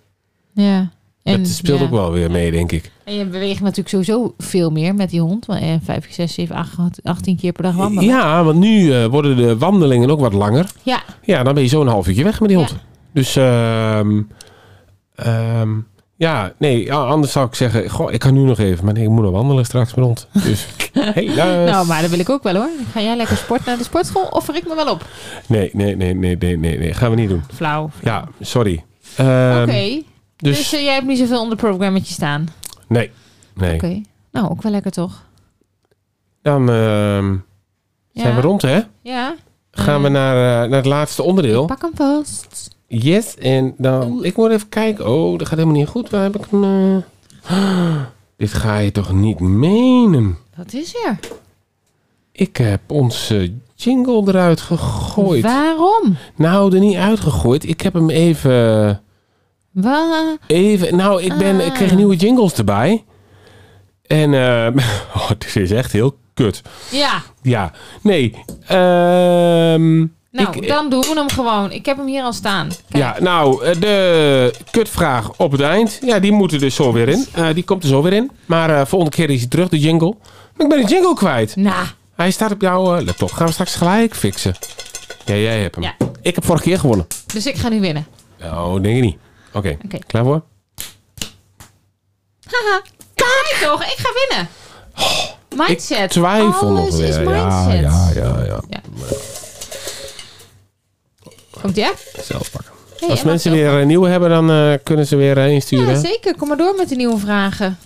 J: Ja. En,
K: dat speelt
J: ja.
K: ook wel weer mee, denk ik.
J: En je beweegt natuurlijk sowieso veel meer met die hond. Want, eh, 5, 6, 7, 8, 18 keer per dag wandelen.
K: Ja, want nu eh, worden de wandelingen ook wat langer.
J: Ja.
K: Ja, dan ben je zo'n half uurtje weg met die hond. Dus ehm, ehm, ja, nee, ja, anders zou ik zeggen, goh, ik kan nu nog even. Maar nee, ik moet nog wandelen straks met hond.
J: [laughs]
K: Dus helaas.
J: nou, maar dat wil ik ook wel hoor. Dan Ga jij lekker sport naar de sportschool? Offer ik me wel op.
K: nee, nee, nee, nee, nee, nee, nee, gaan we niet doen.
J: Flauw.
K: Ja, sorry. Ehm,
J: Oké. Dus,
K: dus-
J: eh, jij hebt niet zoveel onder programmaatje staan.
K: Nee, nee.
J: Oké. Nou, ook wel lekker toch?
K: Dan ehm, zijn
J: Ja.
K: we rond, hè?
J: Ja.
K: Gaan we naar, eh, naar het laatste onderdeel.
J: Pak hem vast.
K: Yes, en dan... Ik moet even kijken. Oh, dat gaat helemaal niet goed. Waar heb ik hem... eh? [gasps] Dit ga je toch niet menen?
J: Wat is er?
K: Ik heb onze jingle eruit gegooid.
J: Waarom?
K: Nou, er niet uitgegooid. Ik heb hem even...
J: Wa- Ah.
K: Even, nou, ik, ben, ik kreeg nieuwe jingles erbij. En, ehm [laughs] oh, dit is echt heel kut.
J: Ja.
K: Ja, nee. ehm,
J: Nou,
K: ik-
J: dan doen we hem gewoon. Ik heb hem hier al staan.
K: Ja, nou, eh, de kutvraag op het eind. Ja, die moet er dus zo weer in. Eh, die komt er zo weer in. Maar eh, volgende keer is hij terug, de jingle. Maar ik ben de jingle kwijt.
J: Nou.
K: Hij staat op jouw eh, laptop. Gaan we straks gelijk fixen. Ja, jij hebt hem.
J: Ja.
K: Ik heb vorige keer gewonnen.
J: Dus ik ga nu winnen.
K: Oh, denk ik niet. Oké,
J: Oké.
K: klaar voor?
J: Haha. Kijk toch, ik ga winnen. Mindset.
K: Twijfel
J: Alles
K: nog weer.
J: is
K: ja,
J: mindset.
K: ja, ja, ja.
J: Komt ja?
K: Zelf pakken.
J: Hey,
K: Als
J: Emma,
K: mensen
J: zelf.
K: weer een nieuwe hebben, dan eh, kunnen ze weer eh, insturen.
J: Ja, zeker. Kom maar door met de nieuwe vragen.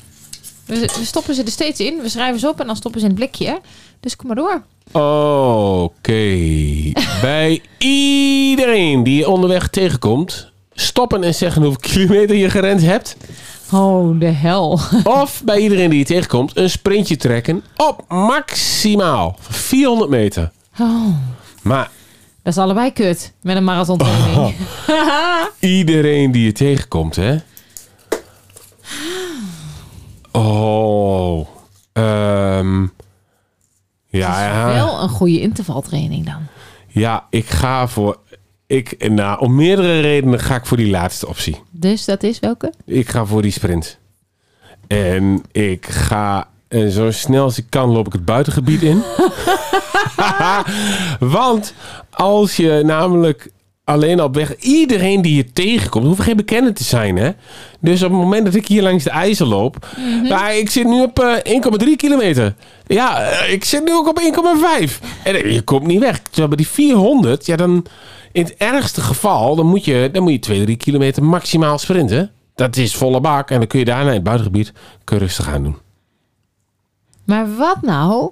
J: We, we stoppen ze er steeds in. We schrijven ze op en dan stoppen ze in het blikje. Dus kom maar door.
K: Oké.
J: [laughs]
K: Bij iedereen die je onderweg tegenkomt, stoppen en zeggen hoeveel kilometer je gerend hebt.
J: Oh, de hel.
K: Of bij iedereen die je tegenkomt, een sprintje trekken op maximaal 400 meter.
J: Oh,
K: Maar Oh.
J: dat is allebei kut. Met een marathontraining. [laughs]
K: iedereen die je tegenkomt, hè? Oh. Ehm ja, ja.
J: Wel een goede intervaltraining dan.
K: Ja, ik ga voor. Ik, nou, om meerdere redenen ga ik voor die laatste optie.
J: Dus dat is welke?
K: Ik ga voor die sprint. En ik ga. En zo snel als ik kan loop ik het buitengebied in. Want als je namelijk alleen op weg... Iedereen die je tegenkomt, hoeft geen bekende te zijn, hè? Dus op het moment dat ik hier langs de IJssel loop... nou, ik zit nu op eh, 1,3 kilometer. Ja, eh, ik zit nu ook op 1,5. En eh, je komt niet weg. Terwijl bij die 400, ja, dan... In het ergste geval, dan moet je, dan moet je 2, 3 kilometer maximaal sprinten. Dat is volle bak. En dan kun je daarna in het buitengebied kun je rustig aan doen.
J: Maar wat nou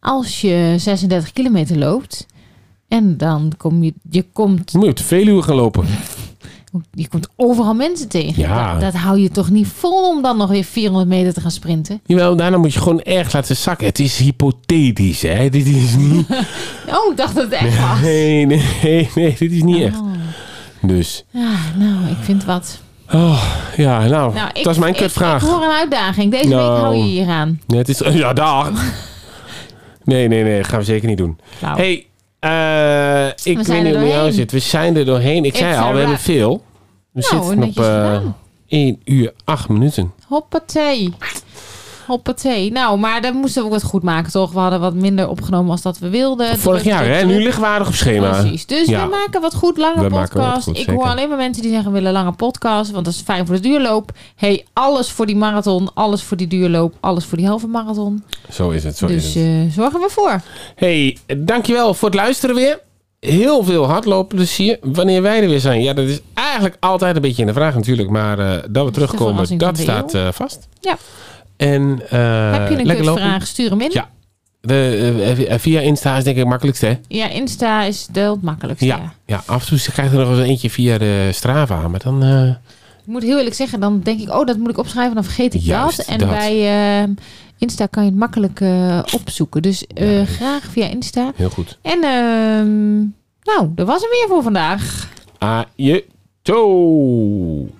J: als je 36 kilometer loopt en dan kom je, je komt,
K: Dan moet je op de Veluwe gaan lopen.
J: je komt overal mensen tegen.
K: Ja.
J: Dat, dat hou je toch niet vol om dan nog weer 400 meter te gaan sprinten?
K: Jawel, daarna moet je gewoon echt laten zakken. Het is hypothetisch, hè? Dit is niet.
J: [laughs] Oh, ik dacht dat het echt was.
K: Nee, nee, nee, nee, dit is niet echt.
J: Oh.
K: Dus.
J: Ja, nou, ik vind wat.
K: Oh, ja, nou,
J: Nou, ik,
K: dat is mijn
J: ik-
K: kutvraag.
J: Ik, hoor een uitdaging. Deze
K: Nou.
J: week hou je hier aan.
K: Nee, het is. Ja, dag. Nee, nee, nee, dat gaan we zeker niet doen.
J: Nou.
K: hey, eh,
J: zijn
K: ik
J: er
K: weet niet hoe het met jou
J: doorheen.
K: zit. We zijn er doorheen. Ik
J: It's
K: zei al,
J: a
K: we hebben
J: wrap.
K: veel. We
J: Nou,
K: zitten op
J: netjes
K: eh, 1 uur 8 minuten.
J: Hoppatee. Hoppatee. Nou, maar dan moesten we ook wat goed maken, toch? We hadden wat minder opgenomen als dat we wilden.
K: Vorig
J: Druk,
K: jaar,
J: druk,
K: hè?
J: druk.
K: Nu liggen we aardig op schema.
J: eh, Precies. Dus we maken wat goed lange
K: We maken wat
J: podcast.
K: goed,
J: ik
K: zeker.
J: hoor alleen maar mensen die zeggen we willen lange podcast, want dat is fijn voor de duurloop. hey, alles voor die marathon, alles voor die duurloop, alles voor die halve marathon.
K: Zo is het, zo is
J: dus
K: het.
J: eh, zorgen we voor.
K: Hey, dankjewel voor het luisteren weer. Heel veel hardloopplezier. Wanneer wij er weer zijn. Ja, dat is eigenlijk altijd een beetje in de vraag natuurlijk. Maar eh, dat we terugkomen,
J: verrassing
K: dat
J: van de
K: staat
J: eeuw.
K: eh, vast.
J: Ja.
K: En, eh,
J: Heb je een
K: lekker lopen.
J: kutvraag, stuur hem in.
K: Ja. De, eh, via Insta is denk ik het makkelijkste, hè?
J: Ja, Insta is de- het makkelijkste. Ja.
K: Ja. ja, af en toe krijg je er nog eens eentje via de Strava. Maar dan... eh,
J: Ik moet heel eerlijk zeggen, dan denk ik, oh, dat moet ik opschrijven, dan vergeet ik
K: Juist
J: dat. En
K: dat.
J: bij eh, Insta kan je het makkelijk eh, opzoeken. Dus eh, graag via Insta.
K: heel goed.
J: En ehm, nou, dat was hem weer voor vandaag.
K: Aje. Ciao.